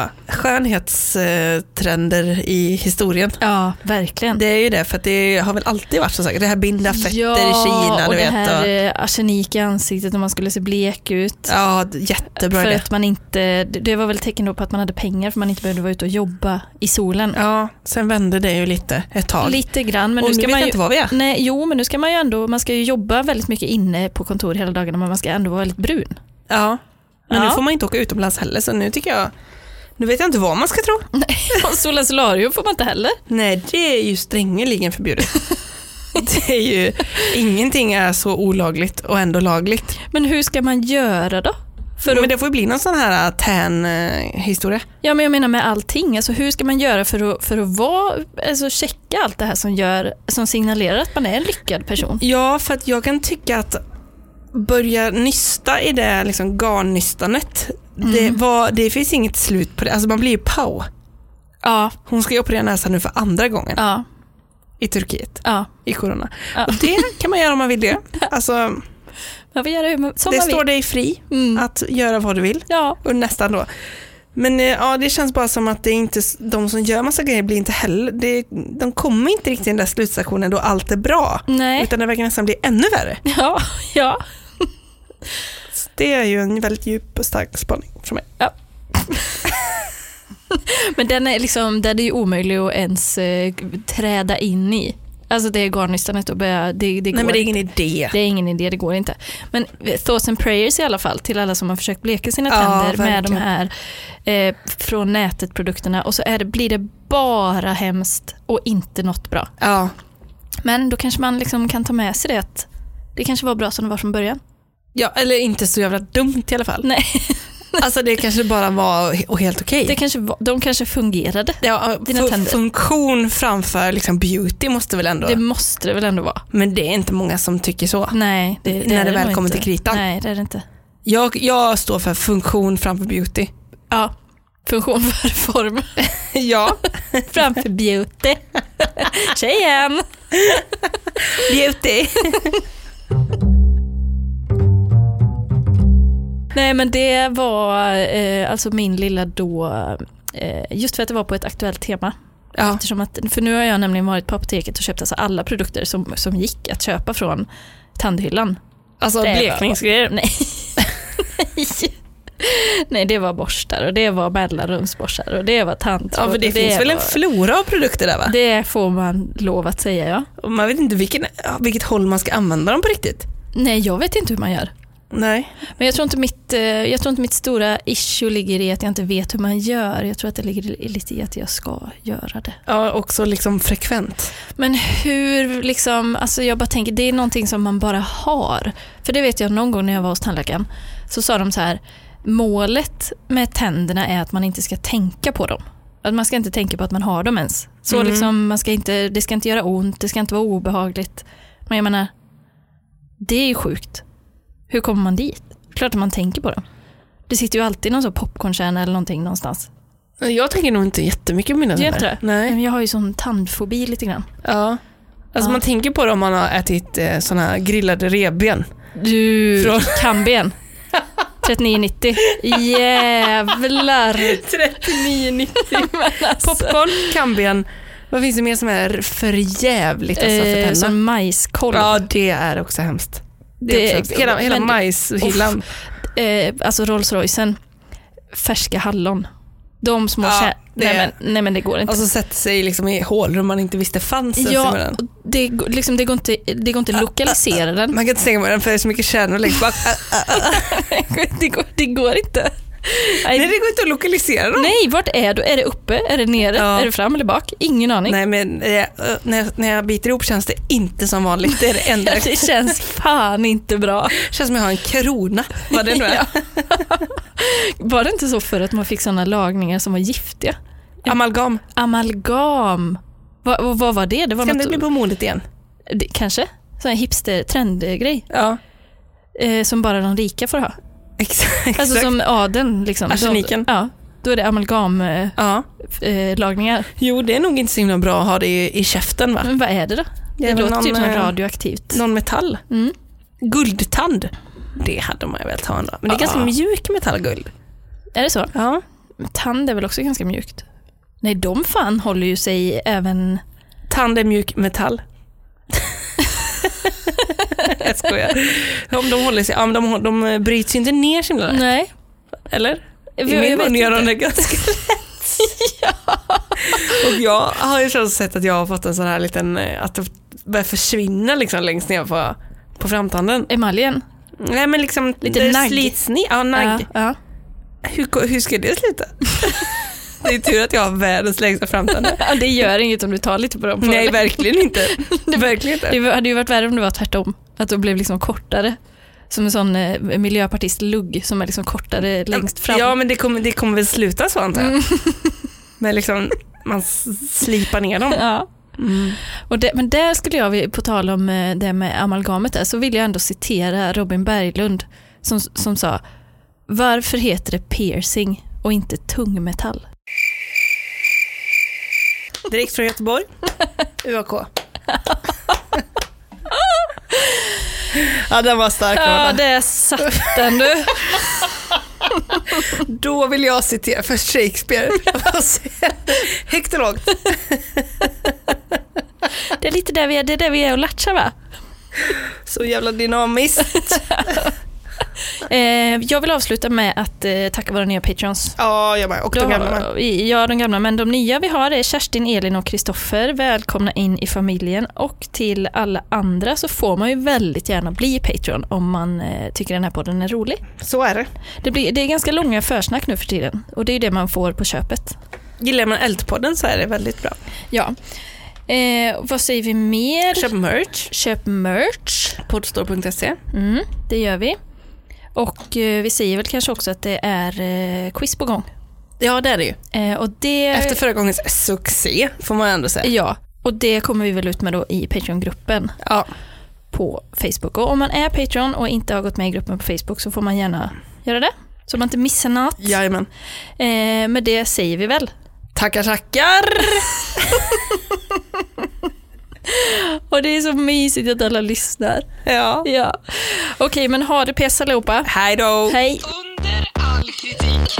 skönhetstrender i historien.
Ja, verkligen.
Det är ju det, för att det har väl alltid varit så säkert. Det här binda fetter
ja,
i Kina,
och
du
det
vet.
här
och,
eh, arsenik i ansiktet om man skulle se blek ut.
ja, jättebra
för
idé.
att man inte, det- det var väl tecken då på att man hade pengar för man inte behövde vara ute och jobba i solen.
Ja, sen vände det ju lite ett tag.
Lite grann, men
och
nu
nu
ska
vet
man
jag
ju
inte var vi är.
Nej, jo, men nu ska man ju ändå, man ska ju jobba väldigt mycket inne på kontor hela dagarna, men man ska ändå vara väldigt brun.
Ja, men
Ja.
nu får man inte åka utomlands heller så nu tycker jag, nu vet jag inte vad man ska tro.
Och sola solarium får man inte heller.
Nej, det är ju strängeligen förbjudet. det är ju, ingenting är så olagligt och ändå lagligt.
Men hur ska man göra då? För
Men
att,
det får ju bli någon sån här tan eh, historia.
ja, men jag menar med allting, alltså hur ska man göra för att, för att vara, alltså checka allt det här som, gör, som signalerar att man är en lyckad person?
Ja, för att jag kan tycka att börja nysta i det liksom garnnystanet, det, var, det finns inget slut på det. Alltså man blir ju pow.
Ja,
Hon ska ju operera näsan nu för andra gången
ja,
i Turkiet,
ja.
i corona.
Ja.
Och det kan man göra om man vill det. Alltså,
Man får göra hur man, som
det
man
står
vill.
dig fri
Mm.
att göra vad du vill.
Ja,
Och nästan då. Men eh, ja, det känns bara som att det är inte, de som gör massa grejer blir inte heller, det, de kommer inte riktigt till den där slutstationen då allt är bra.
nej,
Utan det verkar nästan bli ännu värre.
ja, ja.
Så det är ju en väldigt djup och stark spaning från mig.
Men den är liksom, den är ju omöjlig att ens eh, träda in i. Alltså det är garnnystanet och börja, det, det går
Nej men det är
inte.
ingen idé.
Det är ingen idé, det går inte. Men thoughts and prayers i alla fall till alla som har försökt bleka sina
Ja,
tänder med de
verkligen.
här eh, från nätet-produkterna och så är det, blir det bara hemskt och inte något bra.
Ja.
Men då kanske man liksom kan ta med sig det att det kanske var bra som det var från början.
ja, eller inte så jävla dumt i alla fall.
Nej,
Alltså det kanske bara var he- och helt okej.
det kanske var, de kanske fungerade.
Ja,
Dina
fu-
tänder.
funktion framför liksom beauty måste väl ändå...
Det måste det väl ändå vara?
Men det är inte många som tycker så.
Nej, det,
När
är
det väl
nog
kommer
inte.
till kritan.
Nej, det är det inte.
Jag, jag står för funktion framför beauty.
Ja, funktion för form
ja.
framför beauty. Tjejen!
Beauty.
Nej men det var eh, alltså min lilla då, eh, just för att det var på ett aktuellt tema.
Ja.
Eftersom att, för nu har jag nämligen varit på apoteket och köpt alltså alla produkter som, som gick att köpa från tandhyllan.
Alltså
Det var-
blekningsgrejer.
Nej. Nej. Nej, det var borstar och det var mellanrumsborstar och det var tandtråd.
Ja, för det,
och
finns väl en
var-
flora av produkter där va?
Det får man lov att säga ja.
Och Man vet inte vilken, ja, vilket håll man ska använda dem på riktigt.
Nej, jag vet inte hur man gör.
Nej.
Men jag tror, inte mitt, eh, jag tror inte mitt stora issue ligger i att jag inte vet hur man gör. Jag tror att det ligger i- lite i att jag ska göra det.
Ja, också liksom frekvent.
Men hur, liksom, alltså jag bara tänker, det är någonting som man bara har. För det vet jag någon gång när jag var hos tandläkaren, så sa de så här, målet med tänderna är att man inte ska tänka på dem. Att man ska inte tänka på att man har dem ens. Så
Mm.
liksom, man ska inte, det ska inte göra ont, det ska inte vara obehagligt. Men jag menar, det är ju sjukt. Hur kommer man dit? Klart att man tänker på dem. Det sitter ju alltid någon sån popcornkärna eller någonting någonstans.
Jag tänker nog inte jättemycket på mina
Du gör
tänder.
inte det?
Nej.
Men Jag har ju sån tandfobi lite grann.
Ja. Alltså
Ja.
man tänker på det om man har ätit eh, såna här grillade revben.
Du,
Från-
kamben. 39,90. Jävlar.
39,90.
Men alltså,
Popcorn, kamben. Vad finns det mer som är för jävligt alltså, för
eh,
tänderna?
som majskolv.
Ja, det är också hemskt.
Det är
också-
extra-
hela hela
men-
majshyllan.
Eh, alltså Rolls Roycen, färska hallon. De små
Ja,
kär...
det-
Nej, men, nej men det går inte.
Alltså sätter sig liksom i hålrum man inte visste fanns. ens i
ja,
munnen.
det, går- liksom, det går inte det går inte att lokalisera den.
Man kan inte stänga munnen för det är så mycket kärnor längst bak. Ah, ah.
det, går, det går inte. Nej,
Nej, det går inte att lokalisera dem.
nej, vart är du? Är det uppe? Är det nere?
Ja.
Är det fram eller bak? Ingen aning.
Nej, men eh, eh, när, jag, när jag biter ihop känns det inte som vanligt. Det är det enda.
Det känns fan inte bra.
känns som jag har en krona. Vad det nu är.
Var det inte så förr att man fick sådana lagningar som var giftiga?
Amalgam.
Amalgam. Va, va, vad var det? Det var
Kan
något,
det bli på modet igen?
det, kanske? Sån här hipster trendgrej
Ja,
eh, som bara de rika får ha.
exakt.
Alltså som adeln. Liksom.
Arseniken.
De, ja, då är det amalgamlagningar.
ja.
Eh, eh, lagningar.
Jo, det är nog inte så himla bra att ha det i, i käften va?
Men vad är det då?
Det
Det,
är väl
låter typ
någon,
som
eh,
radioaktivt.
Någon metall.
Mm.
Guldtand. Det hade man ju velat ha ändå. Men det är
Ja.
ganska mjuk metallguld.
Är det så?
Ja.
Men Tand är väl också ganska mjukt? Nej, de fan håller ju sig även...
Tand är mjuk metall. jag skojar. Om de håller sig, ja, men de, de bryts ju inte ner så himla lätt.
Nej.
Eller? I
Jag-
min
jag vet
mun gör de
inte.
det ganska lätt. Och jag har ju så sett att jag har fått en sån här liten, eh, att det börjar försvinna liksom längst ner på, på framtanden.
Emaljen?
Nej men liksom,
Lite
det
nagg.
slits ner. Ja, nagg.
Ja, ja.
Hur, hur ska det sluta? det är tur att jag har världens längsta framtande.
Ja, det gör inget om du tar lite på dem. På
Nej, verkligen inte. verkligen inte.
Det hade ju varit värre om det var tvärtom. Att de blev liksom kortare. Som en sån eh, miljöpartist-lugg som är liksom kortare längst fram.
Ja, men det kommer, det kommer väl sluta så antar jag. Men liksom, man s- slipar ner dem.
Ja.
Mm.
Och det, men där skulle jag, vilja- på tal om eh, det med amalgamet där, så vill jag ändå citera Robin Berglund som, som sa Varför heter det piercing och inte tungmetall?
Direkt från Göteborg, UAK. ja, den var stark.
Ja,
Amanda.
det satt den du.
Då vill jag citera först Shakespeare. Högt och lågt.
Det är lite där vi är, det är där vi är och latchar va?
Så jävla dynamiskt.
Eh, jag vill avsluta med att eh, tacka våra nya patreons.
Ja, jag med. Och de
Då-
gamla med.
i- Ja, de gamla. Men de nya vi har är Kerstin, Elin och Kristoffer. Välkomna in i familjen. Och till alla andra så får man ju väldigt gärna bli Patreon om man eh, tycker den här podden är rolig.
Så är det.
Det, blir, det är ganska långa försnack nu för tiden och det är ju det man får på köpet.
Gillar man Eldpodden så är det väldigt bra.
Ja. Eh, vad säger vi mer?
Köp merch.
Köp merch.
Poddstore.se.
Mm, det gör vi. Och eh, vi säger väl kanske också att det är eh, quiz på gång.
Ja, det är det ju.
Eh, och det...
Efter förra gångens succé, får man ändå säga.
Ja, och det kommer vi väl ut med då i Patreon-gruppen.
Ja.
på Facebook. Och om man är Patreon och inte har gått med i gruppen på Facebook så får man gärna göra det. Så man inte missar något.
Jajamän.
Eh, med det säger vi väl.
Tackar, tackar.
Och det är så mysigt att alla lyssnar.
Ja.
Ja. Okej, men ha det pess allihopa.
Hej då.
Hej.
Under all kritik.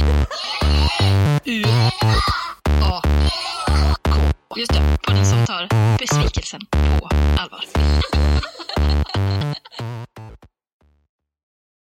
U A K. Just det, podden som tar besvikelsen på